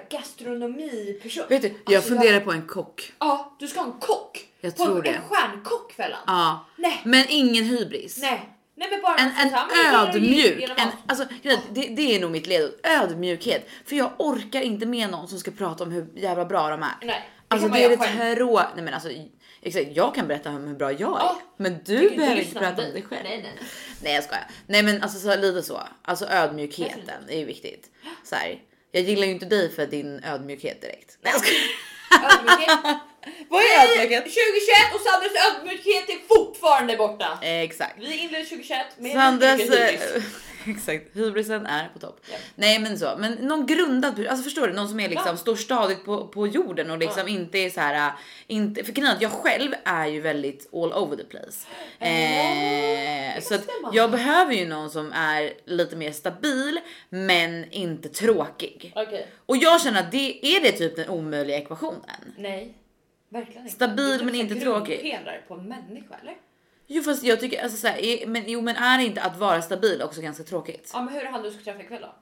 Speaker 2: gastronomiperson.
Speaker 1: vet du, jag
Speaker 2: Alltså,
Speaker 1: funderar på en kock.
Speaker 2: Ja, du ska ha en kock.
Speaker 1: Jag
Speaker 2: På en-
Speaker 1: tror det.
Speaker 2: En stjärnkock Fällan.
Speaker 1: Ja,
Speaker 2: Nej,
Speaker 1: men ingen hybris.
Speaker 2: nej, alltså, nej men bara
Speaker 1: En,
Speaker 2: någon som
Speaker 1: en
Speaker 2: så här, men jag gillar att ge-
Speaker 1: ödmjuk,
Speaker 2: genom
Speaker 1: en,
Speaker 2: allt.
Speaker 1: alltså, grejen är att det, det är nog mitt ledord, ödmjukhet. För jag orkar inte med någon som ska prata om hur jävla bra de är.
Speaker 2: Nej, det
Speaker 1: Alltså
Speaker 2: kan man
Speaker 1: det är
Speaker 2: göra
Speaker 1: det
Speaker 2: själv.
Speaker 1: trå... Nej men alltså, exakt, jag kan berätta om hur bra jag är.
Speaker 2: Ja,
Speaker 1: men
Speaker 2: Tycker
Speaker 1: du behöver inte
Speaker 2: lyssna
Speaker 1: prata
Speaker 2: på
Speaker 1: om dig själv.
Speaker 2: Nej, nej, nej.
Speaker 1: Nej jag skojar. Nej men alltså så, lite så. Alltså ödmjukheten är ju viktigt. Så här, jag gillar ju inte dig för din ödmjukhet direkt. Nej jag skojar.
Speaker 2: Ödmjukhet.
Speaker 1: <laughs> Vad är ödmjukhet?
Speaker 2: 2021 och Sandras ödmjukhet är fortfarande borta.
Speaker 1: Exakt.
Speaker 2: Vi inleder 2021 med
Speaker 1: Sandras...
Speaker 2: mycket hybris.
Speaker 1: eh, <laughs> Exakt, hybrisen är på topp.
Speaker 2: Ja.
Speaker 1: Nej men så, men någon grundad, pers- alltså förstår du? Någon som är liksom,
Speaker 2: Ja.
Speaker 1: står stadigt på, på jorden och liksom inte är så här, äh, inte, för grejen är att jag själv är ju väldigt all over the place. Eh,
Speaker 2: kan
Speaker 1: så att
Speaker 2: stämma.
Speaker 1: jag behöver ju någon som är lite mer stabil men inte tråkig.
Speaker 2: Okej,
Speaker 1: Och jag känner att det är det typ den omöjliga ekvationen.
Speaker 2: nej. Verkligen inte.
Speaker 1: Stabil,
Speaker 2: Det är typ
Speaker 1: men
Speaker 2: så här
Speaker 1: inte tråkig.
Speaker 2: grundpelare på en människa eller?
Speaker 1: Jo fast jag tycker alltså så här, är, men, jo, men är inte att vara stabil också ganska tråkigt?
Speaker 2: Ja men hur är han du ska träffa ikväll då?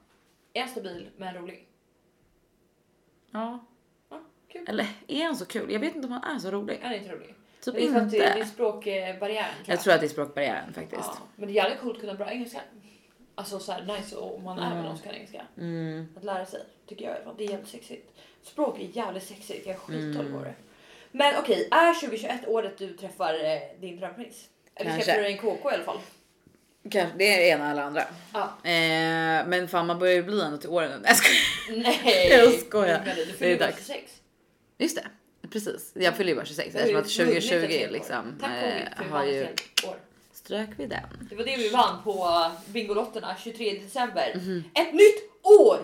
Speaker 2: Är jag stabil men rolig?
Speaker 1: Ja.
Speaker 2: Ja, kul.
Speaker 1: Eller är han så kul? Jag vet inte om han är så rolig.
Speaker 2: Är han inte rolig?
Speaker 1: Typ
Speaker 2: det är för att
Speaker 1: inte.
Speaker 2: det det är språkbarriären. tror
Speaker 1: Jag tror att det är språkbarriären faktiskt.
Speaker 2: Ja, men det är jävligt coolt att kunna bra engelska. Alltså så här nice om man är
Speaker 1: Mm.
Speaker 2: med någon som kan engelska. Att lära sig tycker jag i alla fall. Det är jävligt sexigt. Språk är jävligt sexigt. Jag är
Speaker 1: Mm.
Speaker 2: skitdålig på det. Men okej, är 2021 året du träffar eh, din drömprins? Eller
Speaker 1: Kanske.
Speaker 2: släpper du en KK i alla fall?
Speaker 1: Kanske det är ena eller andra.
Speaker 2: Ja.
Speaker 1: Eh, men fan man börjar ju bli ändå till åren. <laughs> Nej jag skojar.
Speaker 2: Nej!
Speaker 1: <laughs> Jag skojar.
Speaker 2: Men Du
Speaker 1: Det är
Speaker 2: fyller bara
Speaker 1: dags.
Speaker 2: 26.
Speaker 1: Just det, precis. Jag fyller ju bara 26
Speaker 2: Det är
Speaker 1: eftersom
Speaker 2: ju
Speaker 1: att
Speaker 2: vunnit
Speaker 1: 2020
Speaker 2: ett helt år.
Speaker 1: liksom
Speaker 2: Tack covid för vi
Speaker 1: eh, har
Speaker 2: vann ett
Speaker 1: ju
Speaker 2: helt år.
Speaker 1: strök vi den.
Speaker 2: Det var det vi vann på Bingolotterna 23 december.
Speaker 1: Mhm.
Speaker 2: Ett nytt år!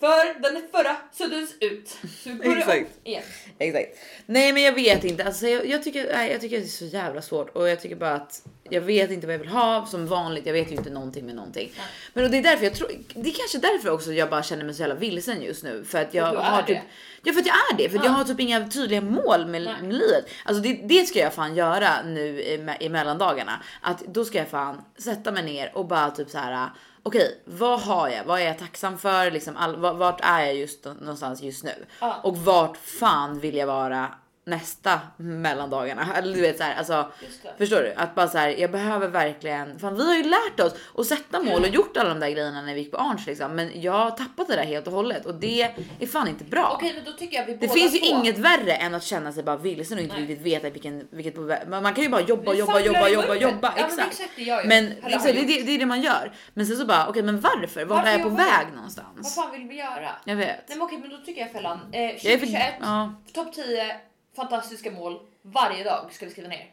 Speaker 2: För den förra suddades ut. Så vi börjar om
Speaker 1: Exakt.
Speaker 2: igen.
Speaker 1: Exakt. Nej, men jag vet inte. Alltså, jag, jag tycker nej, jag tycker att det är så jävla svårt och jag tycker bara att jag vet inte vad jag vill ha som vanligt. Jag vet ju inte någonting med någonting, men och det är därför jag tror. Det är kanske därför också jag bara känner mig så jävla vilsen just nu för att jag
Speaker 2: du är
Speaker 1: har
Speaker 2: det.
Speaker 1: typ. Ja, för att jag är det för att jag
Speaker 2: Ja.
Speaker 1: har typ inga tydliga mål med,
Speaker 2: Nej.
Speaker 1: med livet. Alltså det, det ska jag fan göra nu i, me- i mellandagarna att då ska jag fan sätta mig ner och bara typ så här. Okej, vad har jag? Vad är jag tacksam för? Liksom all, va- vart är jag just någonstans just nu?
Speaker 2: Ja.
Speaker 1: Och vart fan vill jag vara nästa mellandagarna? Eller du vet så här, alltså,
Speaker 2: Just det.
Speaker 1: förstår du? Att bara så här, jag behöver verkligen, fan vi har ju lärt oss att sätta mål och gjort alla de där grejerna när vi gick på Arns liksom. Men jag har tappat det där helt och hållet och det är fan inte bra.
Speaker 2: Okej men då tycker jag vi
Speaker 1: Det
Speaker 2: båda
Speaker 1: finns ju
Speaker 2: två-
Speaker 1: inget värre än att känna sig bara vilsen och inte
Speaker 2: Nej.
Speaker 1: riktigt veta vilken, vilket på vä- Man man kan ju bara jobba,
Speaker 2: Vi
Speaker 1: jobba,
Speaker 2: famlar
Speaker 1: jobba,
Speaker 2: i
Speaker 1: jobba,
Speaker 2: mörkret.
Speaker 1: jobba.
Speaker 2: Ja, men
Speaker 1: Exakt.
Speaker 2: exakt, det gör jag.
Speaker 1: Men
Speaker 2: Eller har
Speaker 1: exakt, det,
Speaker 2: gjort.
Speaker 1: det, det är det man gör. Men sen så bara, okej men varför? Vart
Speaker 2: Varför
Speaker 1: är jag på
Speaker 2: jobbar jag?
Speaker 1: väg någonstans?
Speaker 2: Vad fan vill vi göra?
Speaker 1: Jag vet.
Speaker 2: Nej men okej men då tycker jag Fällan. Eh,
Speaker 1: Jag är
Speaker 2: 2021,
Speaker 1: för, ja.
Speaker 2: topp 10 fantastiska mål varje dag ska vi skriva ner.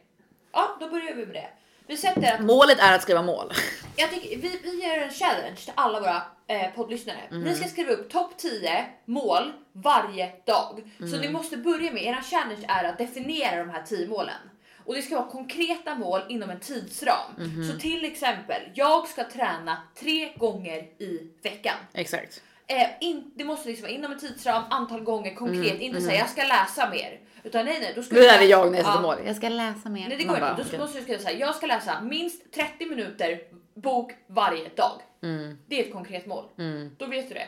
Speaker 2: Ja då börjar vi med det. Vi sätter att,
Speaker 1: Målet är att skriva mål.
Speaker 2: jag tycker, vi, vi gör en challenge till alla våra eh, poddlyssnare.
Speaker 1: Mhm.
Speaker 2: Ni ska skriva upp topp 10 mål varje dag. Så
Speaker 1: Mm.
Speaker 2: ni måste börja med, er challenge är att definiera de här 10 målen. Och det ska vara konkreta mål inom en tidsram.
Speaker 1: Mhm.
Speaker 2: Så till exempel, jag ska träna tre gånger i veckan.
Speaker 1: Exakt.
Speaker 2: Eh, in, det måste liksom vara inom en tidsram, antal gånger konkret, inte säga jag ska läsa mer. Utan nej nej, då ska
Speaker 1: Det
Speaker 2: du-
Speaker 1: där Mm, är jag när jag sätter
Speaker 2: Ja.
Speaker 1: mål. Jag ska läsa mer.
Speaker 2: Nej det går
Speaker 1: Man
Speaker 2: inte,
Speaker 1: bara,
Speaker 2: då ska-
Speaker 1: okej.
Speaker 2: måste du skriva såhär, jag ska läsa minst 30 minuter bok varje dag.
Speaker 1: Mm.
Speaker 2: Det är ett konkret mål. Då vet du det.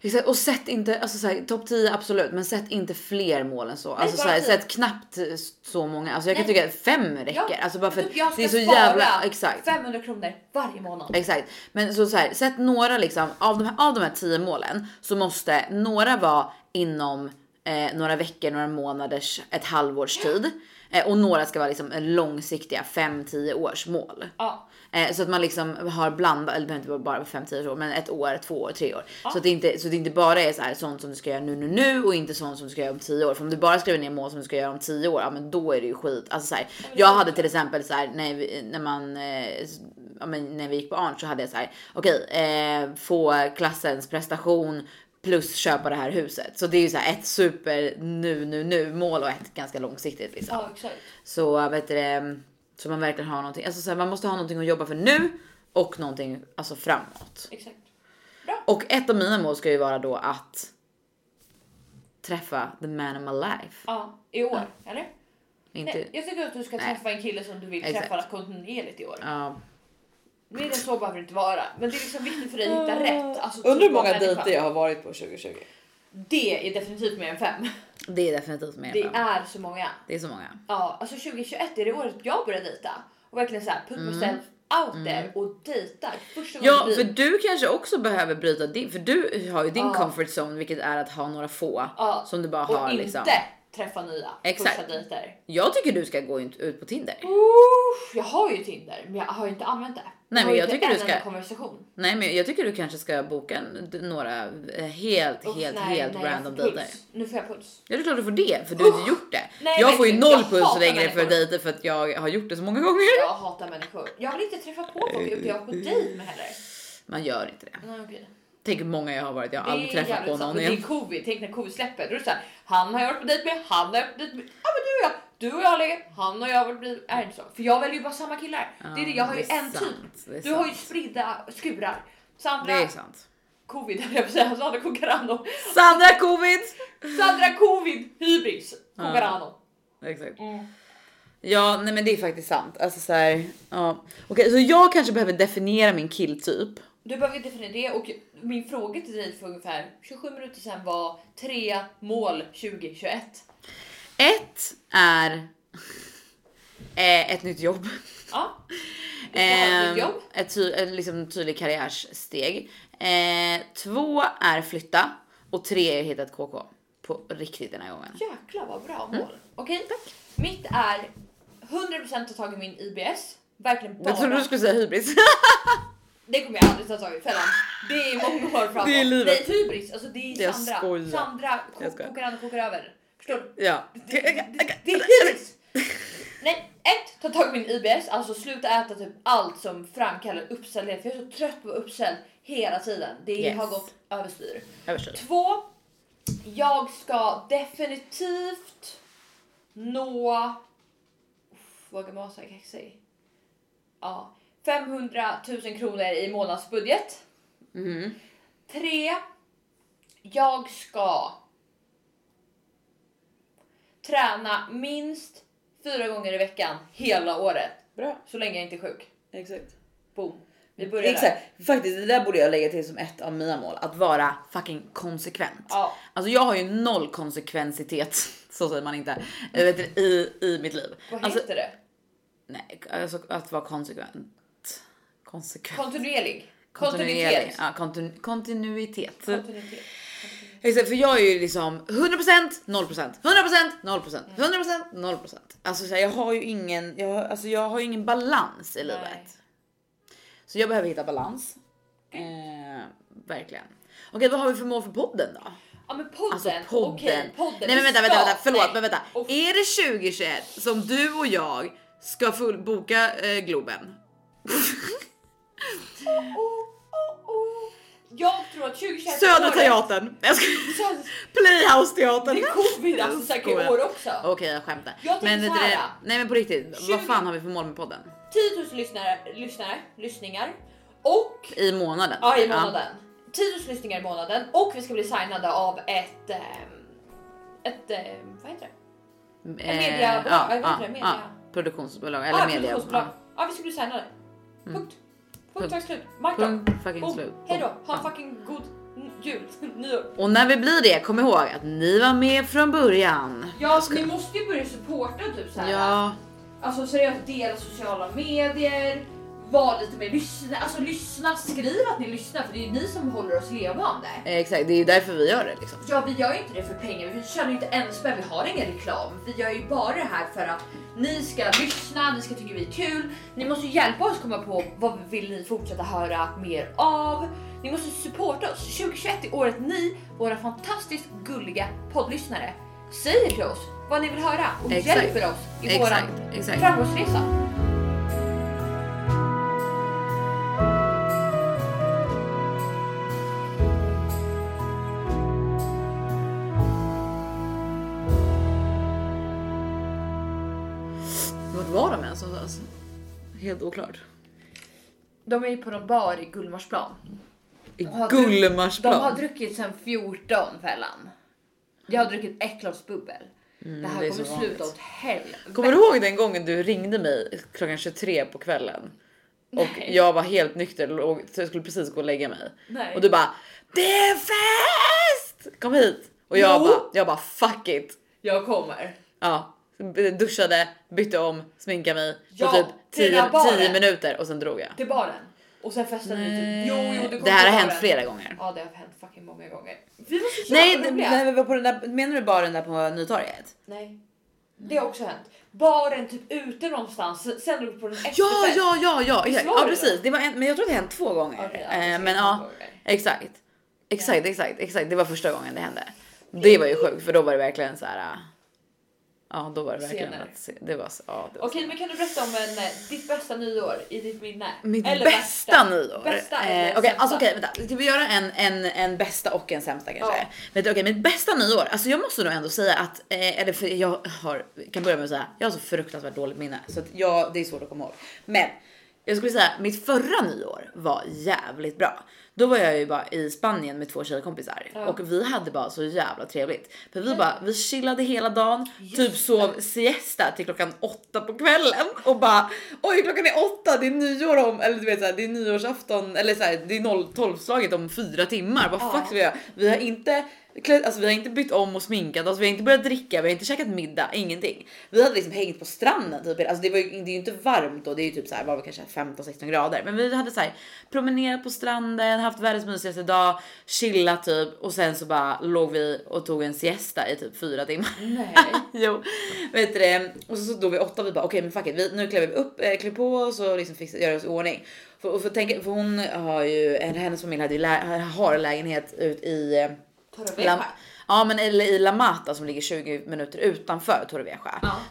Speaker 1: Exakt, och sätt inte, alltså såhär, topp 10 absolut, men sätt inte fler mål än så. alltså
Speaker 2: bara
Speaker 1: såhär,
Speaker 2: tio.
Speaker 1: sätt knappt eh, så många. Alltså jag kan
Speaker 2: Nej.
Speaker 1: tycka att fem räcker. alltså bara för
Speaker 2: typ,
Speaker 1: att det är så
Speaker 2: spara
Speaker 1: jävla... Exakt.
Speaker 2: 500 kronor varje månad.
Speaker 1: Exakt, men så, så här, sätt några liksom av de här, av de här tio målen så måste några vara inom eh, några veckor, några månaders, ett halvårs tid eh, och några ska vara liksom långsiktiga 5-10 års mål.
Speaker 2: Ja.
Speaker 1: Eh, så att man liksom har blandat, eller det behöver inte vara bara 5-10 år, men ett år, två år, tre år. Så, att det inte, så det inte bara är så här, sånt som du ska göra nu, nu, nu och inte sånt som du ska göra om 10 år. För om du bara skriver ner mål som du ska göra om 10 år, ja men då är det ju skit. Alltså så här, jag hade till exempel så här, när, vi, när man, eh, s- ja, men när vi gick på Arn så hade jag så här, okej, eh, få klassens prestation plus köpa det här huset. Så det är ju så här ett super nu, nu, nu mål och ett ganska långsiktigt liksom.
Speaker 2: Ja, exakt.
Speaker 1: Så vet du det, så man verkligen har någonting. Alltså så här, man måste ha någonting att jobba för nu och någonting alltså framåt.
Speaker 2: exakt.
Speaker 1: Och ett av mina mål ska ju vara då att träffa the man of my life.
Speaker 2: Ja, I år, eller?
Speaker 1: Inte,
Speaker 2: Nej, jag tycker att du ska
Speaker 1: Nej.
Speaker 2: träffa en kille som du vill
Speaker 1: Exakt.
Speaker 2: träffa kontinuerligt i år.
Speaker 1: ja.
Speaker 2: Mer än så behöver det inte vara. Men det är liksom viktigt för dig att hitta rätt. Alltså,
Speaker 1: Ah. Undrar hur
Speaker 2: typ av
Speaker 1: många
Speaker 2: människa.
Speaker 1: dejter jag har varit på 2020.
Speaker 2: Det är definitivt mer än fem.
Speaker 1: Det är definitivt mer
Speaker 2: Det
Speaker 1: än fem.
Speaker 2: är så många.
Speaker 1: Det är så många.
Speaker 2: Ja, alltså 2021 är det året jag börjar dejta. Och verkligen såhär put myself out there och dejtar. Första gången
Speaker 1: Mm. Ja,
Speaker 2: vi-
Speaker 1: för du kanske också behöver bryta din, för du har ju din
Speaker 2: Ja.
Speaker 1: comfort zone, vilket är att ha några få
Speaker 2: Ja,
Speaker 1: som du bara
Speaker 2: och
Speaker 1: har
Speaker 2: inte
Speaker 1: liksom.
Speaker 2: träffa nya
Speaker 1: Exakt.
Speaker 2: första dejter.
Speaker 1: Jag tycker du ska gå in- ut på Tinder.
Speaker 2: Uff, jag har ju Tinder men jag har ju inte använt det.
Speaker 1: men
Speaker 2: har ju
Speaker 1: jag
Speaker 2: inte
Speaker 1: tycker
Speaker 2: en
Speaker 1: du ska-
Speaker 2: enda konversation.
Speaker 1: Nej, men jag tycker du kanske ska boka en, d- några eh, helt,
Speaker 2: Uff,
Speaker 1: helt,
Speaker 2: nej,
Speaker 1: helt
Speaker 2: nej, jag
Speaker 1: random
Speaker 2: får puls.
Speaker 1: dejter.
Speaker 2: Nu får jag puls.
Speaker 1: Ja, det är klart du får det för du har inte gjort det.
Speaker 2: Nej,
Speaker 1: jag får ju
Speaker 2: verkligen.
Speaker 1: noll
Speaker 2: Jag
Speaker 1: puls
Speaker 2: hatar
Speaker 1: längre för
Speaker 2: människor.
Speaker 1: dejter för att jag har gjort det så många <laughs> gånger.
Speaker 2: Jag hatar människor. Jag vill inte träffa på folk utan jag går på dejt med heller.
Speaker 1: Man gör inte det.
Speaker 2: Nej, okej.
Speaker 1: Tänk hur många jag har varit. Jag har
Speaker 2: Det
Speaker 1: aldrig
Speaker 2: är
Speaker 1: träffat på
Speaker 2: jävligt sant.
Speaker 1: någon
Speaker 2: Men Det är
Speaker 1: igen.
Speaker 2: covid. Tänk när covid släpper. Då är det så här, han har jag varit på dejt med, han har jag varit på dejt med. Ja men du och jag, du och jag har legat, han och jag har varit på dejt med. Är det inte så? För jag väljer ju bara samma killar. det är det, jag har ju
Speaker 1: Ja, det är
Speaker 2: en
Speaker 1: sant,
Speaker 2: typ.
Speaker 1: det är
Speaker 2: Du har ju
Speaker 1: sant.
Speaker 2: spridda skurar.
Speaker 1: Det
Speaker 2: Sandra
Speaker 1: är sant.
Speaker 2: covid <laughs> höll jag på att säga, Sandra Cucarano.
Speaker 1: Sandra covid!
Speaker 2: Sandra covid hybris Cucarano.
Speaker 1: Exakt.
Speaker 2: Mm.
Speaker 1: Ja, nej men det är faktiskt sant. Alltså så här, ja. Okej, så jag kanske behöver definiera min killtyp.
Speaker 2: Du behöver definiera det och min fråga till dig för ungefär 27 minuter sedan var tre mål 2021.
Speaker 1: Ett är <laughs> eh, ett nytt jobb.
Speaker 2: Ja, ska ha ett nytt jobb.
Speaker 1: Eh, ett ty- en liksom tydlig karriärssteg. Eh, två är flytta och tre är hitta ett KK. På riktigt den här gången.
Speaker 2: Jäklar vad bra
Speaker 1: Mm.
Speaker 2: mål. Okej, mitt är 100% ta tag i min IBS. Verkligen
Speaker 1: Jag trodde
Speaker 2: bara.
Speaker 1: du skulle säga hybris. <laughs>
Speaker 2: Det kommer jag aldrig ta tag i fällan. Det är många år framåt.
Speaker 1: Det är livet.
Speaker 2: Nej, hybris. Alltså det är
Speaker 1: Jag
Speaker 2: Sandra.
Speaker 1: skojar.
Speaker 2: Sandra
Speaker 1: Jag
Speaker 2: ko-
Speaker 1: skojar.
Speaker 2: kokar an och kokar över. Förstår du?
Speaker 1: ja.
Speaker 2: Det, det, det är hybris. Nej, ett, ta tag i min IBS, alltså sluta äta typ allt som framkallar uppställdhet. För jag är så trött på att vara uppställd hela tiden. Det
Speaker 1: Yes.
Speaker 2: har gått överstyr.
Speaker 1: Överstyr.
Speaker 2: Två, jag ska definitivt nå... Uff, Vad kan man säga kaxig? Ja, 500 000 kronor i månadsbudget.
Speaker 1: Mhm.
Speaker 2: Tre, jag ska träna minst fyra gånger i veckan hela året.
Speaker 1: Bra.
Speaker 2: Så länge jag inte är sjuk.
Speaker 1: Exakt.
Speaker 2: Boom. Vi börjar där.
Speaker 1: Mm. Exakt. Faktiskt det där borde jag lägga till som ett av mina mål. Att vara fucking konsekvent.
Speaker 2: Ja.
Speaker 1: Alltså jag har ju noll konsekvensitet, <laughs> så säger man inte, jag vet, inte, i, i mitt liv.
Speaker 2: Vad
Speaker 1: Alltså,
Speaker 2: heter det?
Speaker 1: nej, alltså att vara konsekvent. Konsekvent.
Speaker 2: Kontinuerlig.
Speaker 1: Kontinuerlig.
Speaker 2: Kontinuitet.
Speaker 1: Ja, kontin- kontinuitet.
Speaker 2: Kontinuitet.
Speaker 1: Exakt, för jag är ju liksom 100%, 0%, 100%, 0%,
Speaker 2: Mm.
Speaker 1: 100%, 0%. Alltså så här, jag har ju ingen, jag, har- alltså, jag har ju ingen balans i livet.
Speaker 2: Nej.
Speaker 1: Så jag behöver hitta balans. Eh, verkligen. Okej, vad har vi för mål för podden då?
Speaker 2: Ja men podden,
Speaker 1: Alltså podden.
Speaker 2: okej podden.
Speaker 1: Nej men
Speaker 2: Vi
Speaker 1: vänta, vänta,
Speaker 2: ska-
Speaker 1: vänta, förlåt,
Speaker 2: nej.
Speaker 1: men vänta.
Speaker 2: Och-
Speaker 1: Är det 2021 som du och jag ska full boka eh,
Speaker 2: <laughs>
Speaker 1: Globen?
Speaker 2: oh, oh. Jag tror att 2021
Speaker 1: Södra
Speaker 2: året-
Speaker 1: Teatern! Jag ska...
Speaker 2: Södra-
Speaker 1: Playhouse-teatern!
Speaker 2: Det är covid alltså
Speaker 1: Jag
Speaker 2: säkert
Speaker 1: skojar.
Speaker 2: i år också.
Speaker 1: Okej jag skämtar.
Speaker 2: Jag tänker
Speaker 1: vet
Speaker 2: så här.
Speaker 1: du det- nej men på riktigt,
Speaker 2: 20
Speaker 1: vad fan har vi för mål med podden?
Speaker 2: 10 000 lyssnare, lyssnare, lyssningar och
Speaker 1: I månaden?
Speaker 2: ja, i månaden. 10 000 lyssningar i månaden och vi ska bli signade av ett ehm, ett ehm, vad heter det?
Speaker 1: Ja.
Speaker 2: En
Speaker 1: Eh,
Speaker 2: media-
Speaker 1: ja,
Speaker 2: vad heter
Speaker 1: ja,
Speaker 2: det? Media-
Speaker 1: ja. Produktionsbolag eller
Speaker 2: ah,
Speaker 1: media.
Speaker 2: produktionsbolag. Ja vi ska bli signade. Punkt. Punkt, tack slut.
Speaker 1: Ja.
Speaker 2: Mark
Speaker 1: Punkt fucking
Speaker 2: Boom.
Speaker 1: slut.
Speaker 2: Oh, Hej då.
Speaker 1: Ja.
Speaker 2: Ha en fucking god n- jul, <laughs> nyår.
Speaker 1: Och när vi blir det, kom ihåg att ni var med från början.
Speaker 2: Ja, ni måste ju börja supporta typ så här.
Speaker 1: Ja,
Speaker 2: Alltså seriöst, dela sociala medier, var lite mer lyssna, alltså lyssna, skriv att ni lyssnar för det är ju ni som håller oss levande.
Speaker 1: exakt. Det är ju därför vi gör det liksom.
Speaker 2: Ja, vi gör ju inte det för pengar, vi tjänar ju inte en spänn, vi har ingen reklam. Vi gör ju bara det här för att ni ska lyssna, ni ska tycka vi är kul. Ni måste ju hjälpa oss komma på vad vill ni fortsätta höra mer av. Ni måste supporta oss. 2021 är året ni, våra fantastiskt gulliga poddlyssnare, säger till oss vad ni vill höra och
Speaker 1: Exakt.
Speaker 2: hjälper oss i
Speaker 1: Exakt,
Speaker 2: våran
Speaker 1: exakt.
Speaker 2: framgångsresa.
Speaker 1: Vart var de ens någonstans? Helt oklart.
Speaker 2: De är ju på någon bar i Gullmarsplan.
Speaker 1: I
Speaker 2: har druck- De har
Speaker 1: Gullmarsplan.
Speaker 2: druckit sedan 14 fällan. Jag har druckit ett glas bubbel. det här
Speaker 1: Mm, det är
Speaker 2: kommer
Speaker 1: så
Speaker 2: sluta
Speaker 1: vanligt.
Speaker 2: åt helvete.
Speaker 1: Kommer du ihåg den gången du ringde mig klockan 23 på kvällen? Och
Speaker 2: Nej.
Speaker 1: jag var helt nykter och låg- så jag skulle precis gå och lägga mig.
Speaker 2: Nej.
Speaker 1: Och du bara Det är fest! Kom hit! Och jag
Speaker 2: Jo.
Speaker 1: bara, jag bara fuck it.
Speaker 2: Jag kommer.
Speaker 1: Ja, duschade, bytte om, sminkade mig
Speaker 2: Ja,
Speaker 1: på typ
Speaker 2: till den
Speaker 1: 10,
Speaker 2: här baren.
Speaker 1: 10 minuter och sen drog jag.
Speaker 2: Till baren. Och sen festade vi typ. Jo, jo, kommer
Speaker 1: det här
Speaker 2: till
Speaker 1: har hänt
Speaker 2: baren.
Speaker 1: flera gånger.
Speaker 2: Ja, det har hänt fucking många gånger. Vi var så
Speaker 1: Nej,
Speaker 2: jävla
Speaker 1: det,
Speaker 2: roliga.
Speaker 1: nej, men på den där, menar du bara den där på Nytorget?
Speaker 2: Nej. Det har också hänt. Baren typ ute någonstans, sen- sen drog vi på den efter
Speaker 1: Ja, ja, ja, ja, exakt.
Speaker 2: var
Speaker 1: ja
Speaker 2: det
Speaker 1: precis. Det var en, men jag tror att det har hänt två gånger. eh, men ja, exakt. Exakt, exakt, exakt. Det var första gången det hände. Det var ju sjukt för då var det verkligen så här. äh, Ja, då var det verkligen
Speaker 2: Scener.
Speaker 1: att se. Det var så. Ja, det var så.
Speaker 2: Okej, men kan du berätta om en, eh, ditt bästa nyår i ditt minne?
Speaker 1: Mitt
Speaker 2: Eller
Speaker 1: bästa, nyår.
Speaker 2: Bästa
Speaker 1: eh,
Speaker 2: eller
Speaker 1: okej,
Speaker 2: sämsta?
Speaker 1: alltså okej, vänta. Ska vi göra en, en, en bästa och en sämsta kanske?
Speaker 2: Ja.
Speaker 1: Men okej, mitt bästa nyår. Alltså jag måste nog ändå säga att, eh, eller för jag har, kan börja med att säga, jag har så fruktansvärt dåligt minne så att jag, det är svårt att komma ihåg. Men jag skulle säga mitt förra nyår var jävligt bra. Då var jag ju bara i Spanien med två tjejkompisar och vi hade bara så jävla trevligt. För vi bara, vi chillade hela dagen, typ sov siesta till klockan åtta på kvällen och bara oj klockan är åtta, det är nyår om, eller du vet såhär det är nyårsafton eller såhär det är 0- 12-slaget om fyra timmar. Vad fuck ska vi göra? Vi har inte klätt, alltså vi har inte bytt om och sminkat oss, vi har inte börjat dricka, vi har inte käkat middag, ingenting. Vi hade liksom hängt på stranden typ, alltså det, var ju, det är ju inte varmt då, det är ju typ såhär var det kanske 15-16 grader. Men vi hade såhär promenerat på stranden, haft världens mysigaste dag, chillat typ och sen så bara låg vi och tog en siesta i typ fyra timmar. <laughs>
Speaker 2: Nej.
Speaker 1: jo, vet du det? Och så, så då vi åtta vi bara okej men fuck it, vi, nu klär vi upp, eh, klär på oss och liksom fixar, gör oss i ordning. För, och för, tänk, för hon har ju, eller hennes familj hade ju lä- har lägenhet ut i eh, La,
Speaker 2: Torrevieja.
Speaker 1: ja men eller i La Mata som ligger 20 minuter utanför Torrevieja.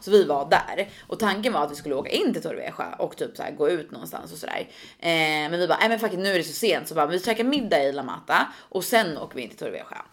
Speaker 1: Så vi var där och tanken var att vi skulle åka in till Torrevieja och typ så här gå ut någonstans och sådär. Eh, men vi bara, nej men fuck it, nu är det så sent så bara vi käkar middag i La Mata och sen åker vi in till Torrevieja.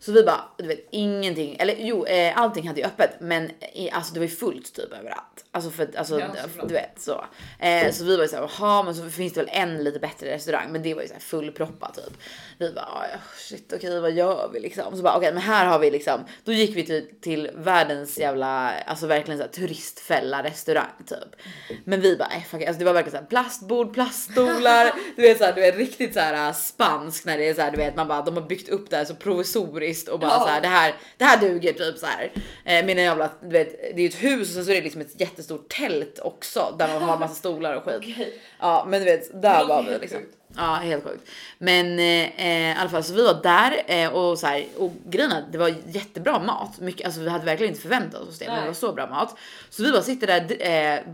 Speaker 1: Så vi bara, du vet ingenting, eller jo eh, allting hade ju öppet men i, alltså det var ju fullt typ överallt. Alltså för att, alltså
Speaker 2: Ja, såklart.
Speaker 1: du vet så. Eh, så vi var ju såhär, jaha men så finns det väl en lite bättre restaurang men det var ju såhär fullproppat typ. Vi bara, "Ah, ja, shit okej vad gör vi liksom? Så bara okej men här har vi liksom, då gick vi till, till världens jävla, alltså verkligen såhär turistfälla restaurang typ. Men vi bara, eh, fuck, it." alltså det var verkligen såhär plastbord, plaststolar, du vet såhär, du vet riktigt såhär äh, spansk när det är såhär du vet man bara de har byggt upp det här så provisoriskt och bara
Speaker 2: Ja.
Speaker 1: så såhär det här, det här duger typ såhär. Eh, med en jävla, du vet det är ju ett hus och sen så är det liksom ett jättestort tält också där man har massa stolar och skit.
Speaker 2: Okej.
Speaker 1: Ja men du vet där
Speaker 2: låter
Speaker 1: var vi
Speaker 2: helt
Speaker 1: liksom.
Speaker 2: sjukt.
Speaker 1: Ja helt sjukt. Men eh, eh, i alla fall så vi var där eh, och så här, och grejen är att det var jättebra mat. Mycket, alltså vi hade verkligen inte förväntat oss det men det
Speaker 2: Nej.
Speaker 1: var så bra mat. Så vi bara sitter där, d-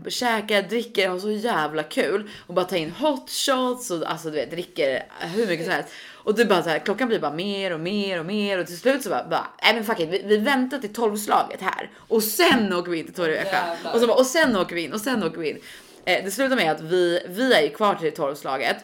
Speaker 1: eh, käkar, dricker, har så jävla kul och bara tar in hot shots och alltså du vet dricker hur mycket som helst. Och det bara så här, klockan blir bara mer och mer och mer och till slut så bara, bara nej men fuck it, vi, vi väntar till tolvslaget här och sen åker vi in till Torrevieja.
Speaker 2: Jävlar.
Speaker 1: Och så bara, och sen åker vi in och sen åker vi in. Eh, det slutar med att vi, vi är ju kvar till tolvslaget.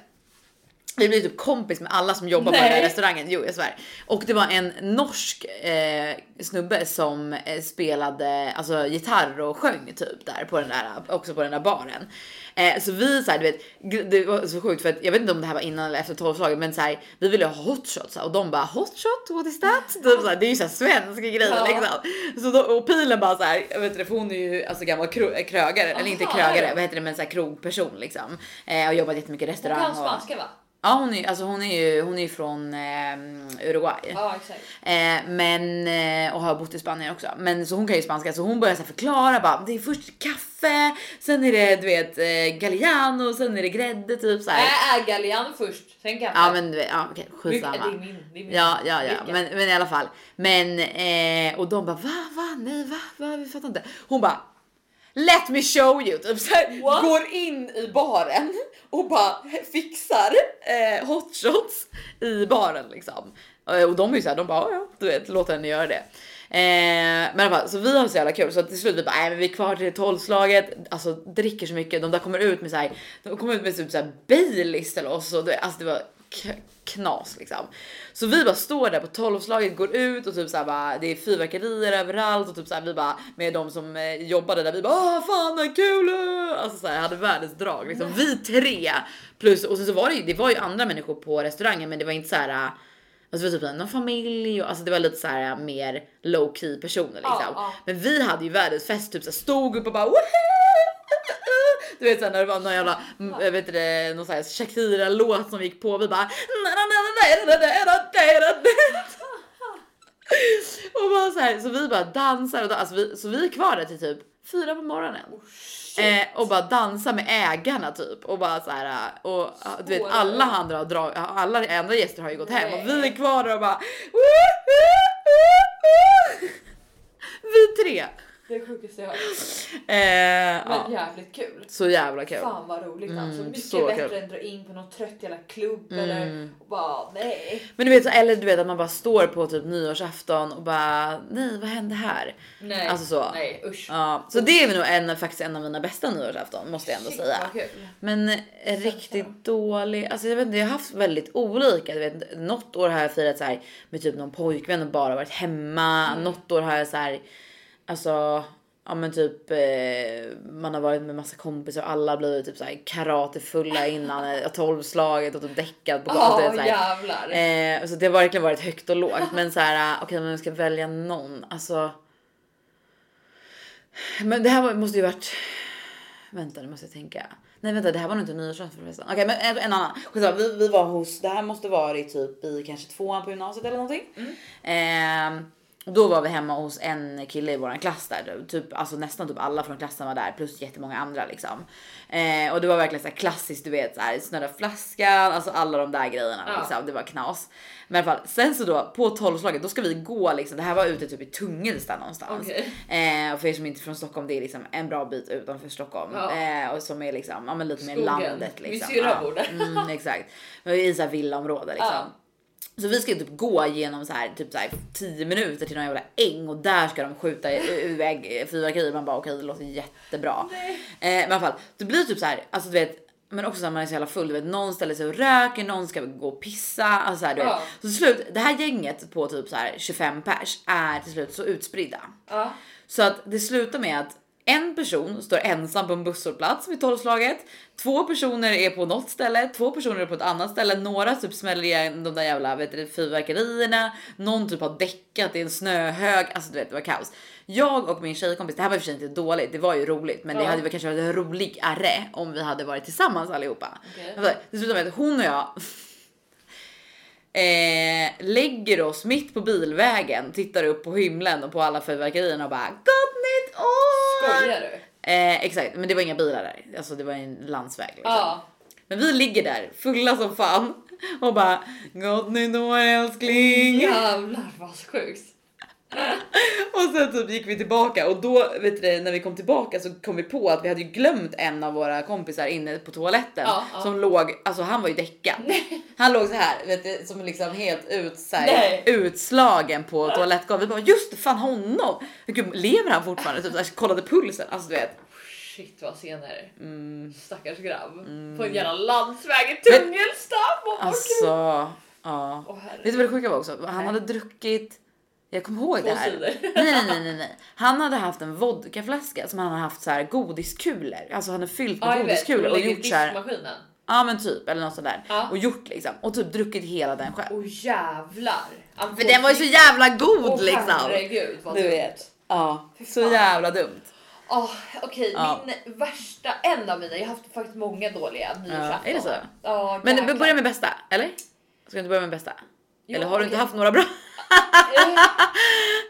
Speaker 1: Vi blev typ kompis med alla som jobbar på den där
Speaker 2: Nej.
Speaker 1: restaurangen. Jo, jag svär. Och det var en norsk eh, snubbe som eh, spelade alltså, gitarr och sjöng typ där på den där, också på den där baren. Eh, så vi så här, du vet, gr- det var så sjukt för att jag vet inte om det här var innan eller efter tolvslaget, men så här, vi ville ha hot shots och de bara hot shot, what is that? Typ, så här, det är ju så här svensk grej
Speaker 2: Ja.
Speaker 1: liksom. Så då, och pilen bara så här, jag vet inte, för hon är ju alltså gammal kro- eh, krögare, eller inte
Speaker 2: Aha.
Speaker 1: krögare, vad heter det, men så här krogperson liksom. Eh, och jobbat jättemycket i
Speaker 2: Hon
Speaker 1: restaurang.
Speaker 2: kan
Speaker 1: och,
Speaker 2: spanska va?
Speaker 1: <laughs> Ja, hon är, alltså hon är ju hon är ju från eh, Uruguay.
Speaker 2: Ja exakt.
Speaker 1: Eh, men, eh, och har bott i Spanien också. Men så hon kan ju spanska så hon börjar så här förklara bara det är först kaffe, sen är det du vet eh, galliano, sen är det grädde typ så här.
Speaker 2: Nej, äh, Gallian först, sen kaffe.
Speaker 1: Ja men du vet, ja, okej skitsamma.
Speaker 2: Mycket- Det är min. Det är min.
Speaker 1: Ja, ja, ja,
Speaker 2: Vilken?
Speaker 1: men, men i alla fall. Men eh, och de bara va, va, nej, va, va, vi fattar inte. Hon bara let me show you. Typ så här,
Speaker 2: What?
Speaker 1: går in i baren och bara fixar eh, hot shots i baren liksom. Eh, Och de är ju så här, de bara "Ja, ja, du vet, låt henne göra det. Eh, men i alla fall, så vi har så jävla kul så till slut vi bara, nej men vi är kvar till tolvslaget, alltså dricker så mycket, de där kommer ut med så här, de kommer ut med typ så här Baileys till oss och det, alltså det var k- knas liksom. Så vi bara står där på tolvslaget, går ut och typ så här bara, det är fyrverkerier överallt och typ så här vi bara med de som eh, jobbade där vi bara "Åh, fan vad kul! eh!" Alltså så här hade världens drag
Speaker 2: Mm.
Speaker 1: liksom. Vi tre plus och sen så var det ju, det var ju andra människor på restaurangen, men det var inte så här eh, Alltså det var typ såhär, någon familj och alltså det var lite så här mer low key personer liksom.
Speaker 2: ja.
Speaker 1: Men vi hade ju världens fest, typ såhär stod upp och bara Woohoo! Du vet såhär när det var någon jävla, m- jag vet inte, någon såhär Shakira låt som gick på vi bara Och bara såhär, så vi bara dansar och dansar, alltså vi, så vi är kvar där till typ fyra på morgonen.
Speaker 2: Oh,
Speaker 1: eh, och bara dansa med ägarna typ och bara så här eh, och ja, du vet
Speaker 2: Skål.
Speaker 1: alla andra har drag, alla andra gäster har ju gått hem och vi är
Speaker 2: Nej.
Speaker 1: kvar där och bara "Woo-hoo-hoo-hoo." Vi tre.
Speaker 2: Det är det sjukaste jag har hört.
Speaker 1: Eh,
Speaker 2: Men
Speaker 1: ja.
Speaker 2: jävligt kul.
Speaker 1: Så jävla kul.
Speaker 2: Fan vad roligt alltså.
Speaker 1: Mm,
Speaker 2: Mycket
Speaker 1: så
Speaker 2: bättre
Speaker 1: kul.
Speaker 2: än
Speaker 1: Mm.
Speaker 2: att dra in på någon trött jävla klubb eller och bara nej.
Speaker 1: Men du vet, så- eller du vet att man bara står på typ nyårsafton och bara nej, vad hände här?
Speaker 2: Nej,
Speaker 1: Alltså så.
Speaker 2: nej usch.
Speaker 1: Ja, så det är nog en, faktiskt en av mina bästa nyårsafton måste jag ändå
Speaker 2: Mm. Shit,
Speaker 1: säga.
Speaker 2: vad kul.
Speaker 1: Men eh, riktigt dålig. Alltså jag vet inte, jag har haft väldigt olika. Du vet, något år har jag firat så här med typ någon pojkvän och bara varit hemma. Något år har jag så här, alltså ja men typ eh, man har varit med massa kompisar och alla blir typ så här karatefulla innan eh, tolvslaget och typ däckat på
Speaker 2: Ja
Speaker 1: gatan. Du vet, så här.
Speaker 2: jävlar.
Speaker 1: Eh, så det har verkligen varit högt och lågt. Men så här, eh, okej, men jag ska välja någon. Alltså. Men det här var- måste ju varit. Vänta, nu måste jag tänka. Nej, vänta, det här var nog inte nyårsafton förresten. Okej, men en, en annan. Skitsamma, Vi, vi var hos. Det här måste varit typ i kanske tvåan på gymnasiet eller någonting.
Speaker 2: Mm.
Speaker 1: Eh, och då var vi hemma hos en kille i våran klass där. Typ, alltså nästan typ alla från klassen var där plus jättemånga andra liksom. Eh, och det var verkligen så här klassiskt, du vet så här snurra flaskan, alltså alla de där grejerna
Speaker 2: Ja.
Speaker 1: liksom. Det var knas. Men i alla fall sen så då på tolvslaget, då ska vi gå liksom. Det här var ute typ i Tungelsta någonstans.
Speaker 2: Okej.
Speaker 1: Eh, och för er som inte är från Stockholm, det är liksom en bra bit utanför Stockholm
Speaker 2: Ja.
Speaker 1: eh, och som är liksom ja, men lite mer
Speaker 2: Skogen.
Speaker 1: landet liksom.
Speaker 2: Min syrra
Speaker 1: Ja.
Speaker 2: bor där. <laughs>
Speaker 1: Mm, exakt. Men I så här villaområde liksom.
Speaker 2: Ja.
Speaker 1: Så vi ska ju typ gå genom så här typ så här 10 minuter till någon jävla äng och där ska de skjuta i- iväg fyrverkerier. Man bara okej, det låter jättebra. Eh, men i alla fall, det blir typ så här, alltså du vet, men också när man är så jävla full, du vet någon ställer sig och röker, någon ska gå och pissa. Alltså så här, du
Speaker 2: Ja.
Speaker 1: vet. Så till slut, det här gänget på typ så här 25 pers är till slut så utspridda.
Speaker 2: Ja.
Speaker 1: Så att det slutar med att en person står ensam på en busshållplats vid tolvslaget. Två personer är på något ställe, två personer är på ett annat ställe. Några typ smäller igen de där jävla vet du, fyrverkerierna. Någon typ har däckat i en snöhög. Alltså du vet, det var kaos. Jag och min tjejkompis, det här var i och för sig inte dåligt, det var ju roligt, men det
Speaker 2: Ja.
Speaker 1: hade väl kanske varit roligare om vi hade varit tillsammans allihopa.
Speaker 2: Okej.
Speaker 1: Okay. Det slutade med att hon och jag eh, lägger oss mitt på bilvägen, tittar upp på himlen och på alla fyrverkerierna och bara gott nytt år!
Speaker 2: Skojar du?
Speaker 1: Eh, exakt, men det var inga bilar där, alltså det var en landsväg. Liksom.
Speaker 2: Ja.
Speaker 1: Men vi ligger där fulla som fan och bara gott nytt år älskling.
Speaker 2: Jävlar vad sjukt.
Speaker 1: Och sen typ gick vi tillbaka och då vet du, när vi kom tillbaka så kom vi på att vi hade ju glömt en av våra kompisar inne på toaletten
Speaker 2: Ja, ja.
Speaker 1: som låg, alltså han var ju däckad. Han låg så här vet du, som liksom helt ut, så här,
Speaker 2: Nej.
Speaker 1: utslagen på toalettgolvet. Vi bara just det, fan honom. Gud, lever han fortfarande? Typ, så här, kollade pulsen, alltså du vet.
Speaker 2: Shit vad senare.
Speaker 1: Mm.
Speaker 2: Stackars grabb. På en jävla landsväg i Tungelsta. Vad var
Speaker 1: Alltså,
Speaker 2: kul.
Speaker 1: ja.
Speaker 2: Åh, herregud.
Speaker 1: Vet du vad det sjuka var också? Han hade druckit, jag kommer ihåg det här.
Speaker 2: sidor.
Speaker 1: Nej, nej, nej, nej, nej. Han hade haft en vodkaflaska som han hade haft så här godiskulor. Alltså han hade fyllt med
Speaker 2: Ja, jag vet.
Speaker 1: godiskulor och
Speaker 2: Lägger i
Speaker 1: gjort så här.
Speaker 2: diskmaskinen.
Speaker 1: Ja, men typ eller något sånt där
Speaker 2: Ja.
Speaker 1: och gjort liksom och typ druckit hela den själv.
Speaker 2: Åh jävlar.
Speaker 1: För den var ju så jävla god
Speaker 2: Åh,
Speaker 1: liksom.
Speaker 2: Herregud vad
Speaker 1: Du
Speaker 2: dumt.
Speaker 1: vet. Ja, så
Speaker 2: fan.
Speaker 1: jävla dumt.
Speaker 2: Oh, Okej,
Speaker 1: Ja.
Speaker 2: min värsta, en av mina, jag har haft faktiskt många dåliga nyårsafton.
Speaker 1: är det så?
Speaker 2: Ja,
Speaker 1: Men vi
Speaker 2: jäklar.
Speaker 1: börjar med bästa, eller? Ska du inte börja med bästa?
Speaker 2: Jo,
Speaker 1: eller har du inte
Speaker 2: okej.
Speaker 1: haft några bra?
Speaker 2: Eh,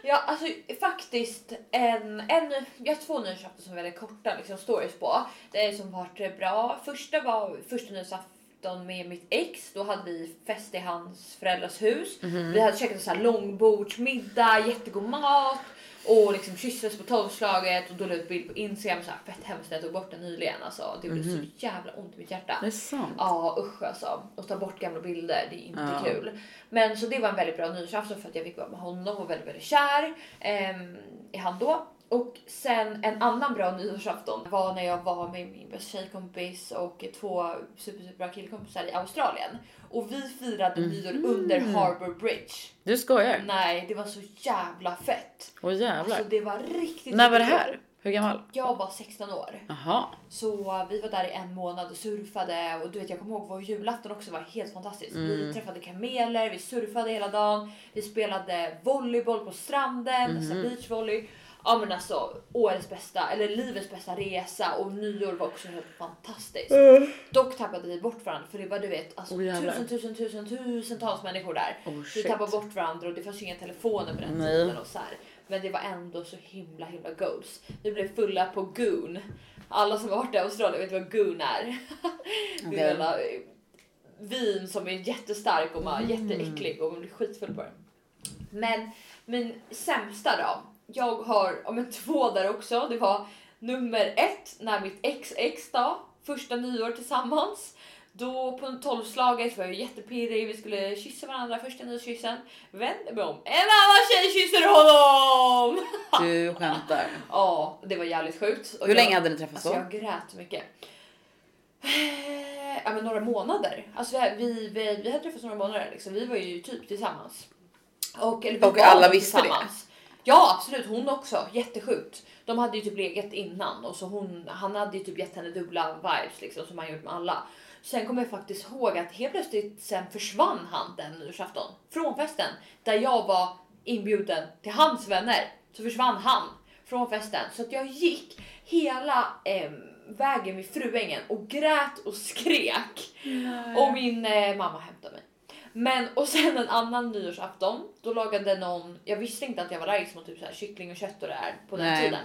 Speaker 2: Ja, alltså faktiskt en, en jag har två nyårsafton som är väldigt korta liksom, stories på. Det är som varit bra. Första var första nyårsafton med mitt ex. Då hade vi fest i hans föräldrars hus. Vi hade käkat en så här långbordsmiddag, jättegod mat och liksom kysstes på tolvslaget och då la jag ut bild på Instagram så här fett hemskt när jag tog bort den nyligen alltså. Det gjorde så jävla ont i mitt hjärta.
Speaker 1: Det är sant.
Speaker 2: Ja usch alltså. Och ta bort gamla bilder, det är inte
Speaker 1: Ja.
Speaker 2: kul. Men så det var en väldigt bra nyårsafton för att jag fick vara med honom och var väldigt, väldigt kär ehm, i han då. Och sen en annan bra nyårsafton var när jag var med min bästa tjejkompis och två super, super bra killkompisar i Australien. Och vi firade
Speaker 1: Mhm.
Speaker 2: nyår under Harbour Bridge.
Speaker 1: Du skojar?
Speaker 2: Nej, det var så jävla fett.
Speaker 1: Åh jävlar.
Speaker 2: Alltså det typ var riktigt
Speaker 1: När var det
Speaker 2: riktigt kul.
Speaker 1: här? Hur gammal?
Speaker 2: Jag var 16 år.
Speaker 1: Jaha.
Speaker 2: Så vi var där i en månad och surfade och du vet jag kommer ihåg vår julafton också var helt fantastisk.
Speaker 1: Mm.
Speaker 2: Vi träffade kameler, vi surfade hela dagen, vi spelade volleyboll på stranden, alltså
Speaker 1: Mhm.
Speaker 2: beachvolley. Ja men alltså årets bästa eller livets bästa resa och nyår var också helt fantastiskt. Dock tappade vi bort varandra för det var du vet alltså
Speaker 1: Åh, jävlar.
Speaker 2: tusen tusen tusen tusentals människor där.
Speaker 1: Oh,
Speaker 2: vi
Speaker 1: shit.
Speaker 2: tappade bort varandra och det fanns ju inga telefoner på den
Speaker 1: Nej.
Speaker 2: tiden och så här. men det var ändå så himla himla goals. Vi blev fulla på Goon. Alla som har varit i Australien vet vad Goon är. det är en jävla eh, vin som är jättestark och man är jätteäcklig och man blir skitfull på den. Men min sämsta då. Jag har ja, men två där också. Det var nummer ett när mitt ex ex då, första nyår tillsammans. Då på tolvslaget var jag jättepirrig, vi skulle kyssa varandra första nyårskyssen. Vänder mig om, en annan tjej kysser honom!
Speaker 1: Du skämtar.
Speaker 2: Ja, det var jävligt sjukt. Och
Speaker 1: Hur
Speaker 2: jag-
Speaker 1: länge hade ni träffats
Speaker 2: Alltså
Speaker 1: då?
Speaker 2: jag grät så mycket. Eh, Ja, men några månader. Alltså vi, vi, vi, vi hade träffats några månader. Liksom. Vi var ju typ tillsammans. Och, eller vi
Speaker 1: Och
Speaker 2: var
Speaker 1: alla
Speaker 2: nog
Speaker 1: visste det?
Speaker 2: tillsammans. Ja absolut, hon också. Jättesjukt. De hade ju typ legat innan och så hon, han hade ju typ gett henne dubbla vibes liksom som han gjort med alla. Sen kommer jag faktiskt ihåg att helt plötsligt sen försvann han den nyårsafton från festen där jag var inbjuden till hans vänner så försvann han från festen så att jag gick hela eh, vägen vid Fruängen och grät och skrek och min eh, mamma hämtade mig. Men och sen en annan nyårsafton då lagade någon. Jag visste inte att jag var allergisk mot typ så här kyckling och kött och det här på den
Speaker 1: Nej.
Speaker 2: tiden.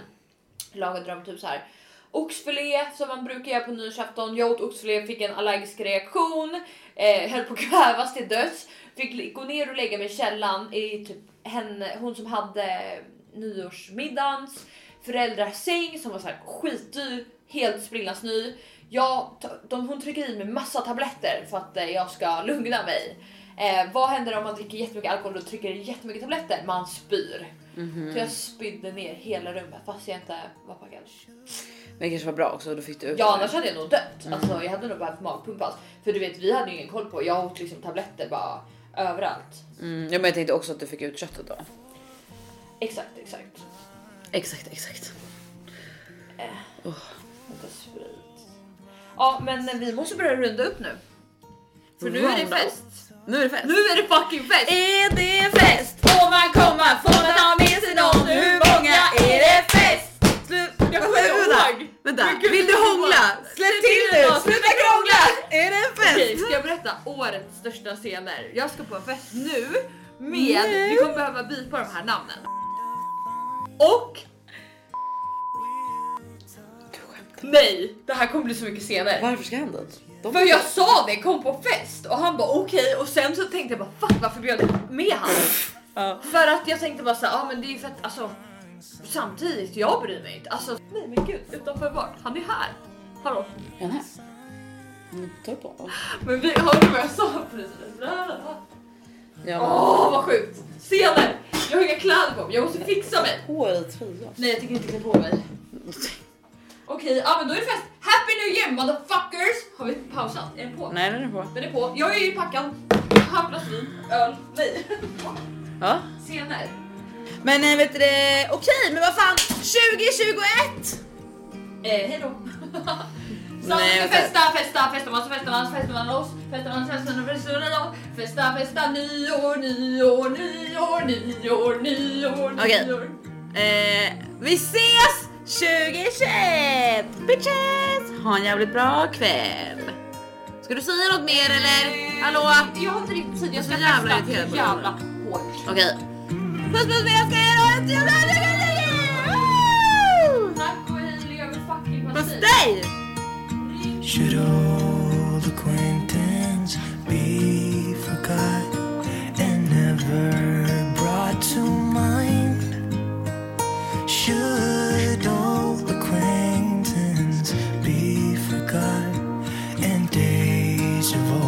Speaker 2: Lagade de typ så här oxfilé som man brukar göra på nyårsafton. Jag åt oxfilé, fick en allergisk reaktion, eh, höll på att kvävas till döds. Fick li- gå ner och lägga mig i källaren i typ henne, hon som hade nyårsmiddagens föräldrasäng som var så här skitdyr, helt sprillans ny. Jag, ta- de, hon trycker i mig massa tabletter för att eh, jag ska lugna mig. Eh, vad händer om man dricker jättemycket alkohol och trycker i jättemycket tabletter? Man spyr. Så jag spydde ner hela rummet fast jag inte var packad.
Speaker 1: Men det kanske var bra också, då fick du ut
Speaker 2: Ja
Speaker 1: det.
Speaker 2: annars hade jag nog dött. Alltså, jag hade nog behövt magpumpas. För du vet vi hade ju ingen koll på. Jag åt liksom tabletter bara överallt.
Speaker 1: Mm, ja, men jag tänkte också att du fick ut köttet då.
Speaker 2: Exakt exakt.
Speaker 1: Exakt, exakt.
Speaker 2: Vänta, sprit. Ja men vi måste börja runda upp nu. För nu är det
Speaker 1: Runda
Speaker 2: fest.
Speaker 1: Nu är det fest.
Speaker 2: Nu är det fucking fest!
Speaker 1: är det fest! Får man komma? Får man ta med sig någon? Hur många är det fest? Slut. Jag
Speaker 2: kommer inte ihåg.
Speaker 1: Vänta,
Speaker 2: Men gud,
Speaker 1: vill du
Speaker 2: jag kommer
Speaker 1: hångla?
Speaker 2: ihåg.
Speaker 1: Släpp
Speaker 2: Släpp
Speaker 1: till
Speaker 2: till
Speaker 1: nu!
Speaker 2: den då,
Speaker 1: Sluta krångla! Är det en
Speaker 2: Okej,
Speaker 1: fest?
Speaker 2: ska jag berätta årets största scener? Jag ska på en fest nu med,
Speaker 1: Nej.
Speaker 2: vi kommer behöva bipa de här namnen. Och... Nej, det här kommer bli så mycket scener.
Speaker 1: Varför ska han dit? De-
Speaker 2: För jag sa det, kom på fest och han bara okej och sen så tänkte jag bara fuck varför bjöd jag med han?
Speaker 1: Ja.
Speaker 2: För att jag tänkte bara såhär, ja ah, men det är ju för att alltså samtidigt, jag bryr mig inte. Alltså nej men gud utanför vart? Han är här. Hallå.
Speaker 1: Är han här? Mm, Ta på honom.
Speaker 2: Men vi hörde du vad jag sa precis?
Speaker 1: Ja.
Speaker 2: Åh vad sjukt! Senare! Jag har inga kläder på mig, jag måste fixa mig.
Speaker 1: På i tröjan.
Speaker 2: Nej jag tänker inte klä på mig. Okej, ja men då är det fest. Happy New Year motherfuckers! Har vi pausat? Är den på?
Speaker 1: Nej, den är på.
Speaker 2: Den är på. Jag är ju packad. Jag har ett glas vin, öl, nej. <laughs>
Speaker 1: Ja.
Speaker 2: Senare.
Speaker 1: Men eh, vet du det? Okej, men vad fan 2021!
Speaker 2: Eh,
Speaker 1: <laughs>
Speaker 2: hejdå. Så
Speaker 1: Nej,
Speaker 2: Nej,
Speaker 1: vänta.
Speaker 2: festa, festa, festar man så festar man, så festar man loss, festar man så festar man, festar man loss, festa, festa, nyår, nyår, nyår, nyår, nyår,
Speaker 1: Okej.
Speaker 2: nyår.
Speaker 1: Eh, vi ses 2021! Bitches! Ha en jävligt bra kväll. Ska du säga något mer eller? Hallå?
Speaker 2: Jag har inte riktigt tid, jag ska
Speaker 1: Så jävla
Speaker 2: festa
Speaker 1: irriterad på dig.
Speaker 2: jävla hårt.
Speaker 1: Okej. Puss puss vi älskar er och ett jävla lyckat nyår!
Speaker 2: Tack och hej, lever fucking
Speaker 1: Pastej!
Speaker 5: Should old acquaintance be forgot and never brought to mind? Should old acquaintance be forgot and days of old?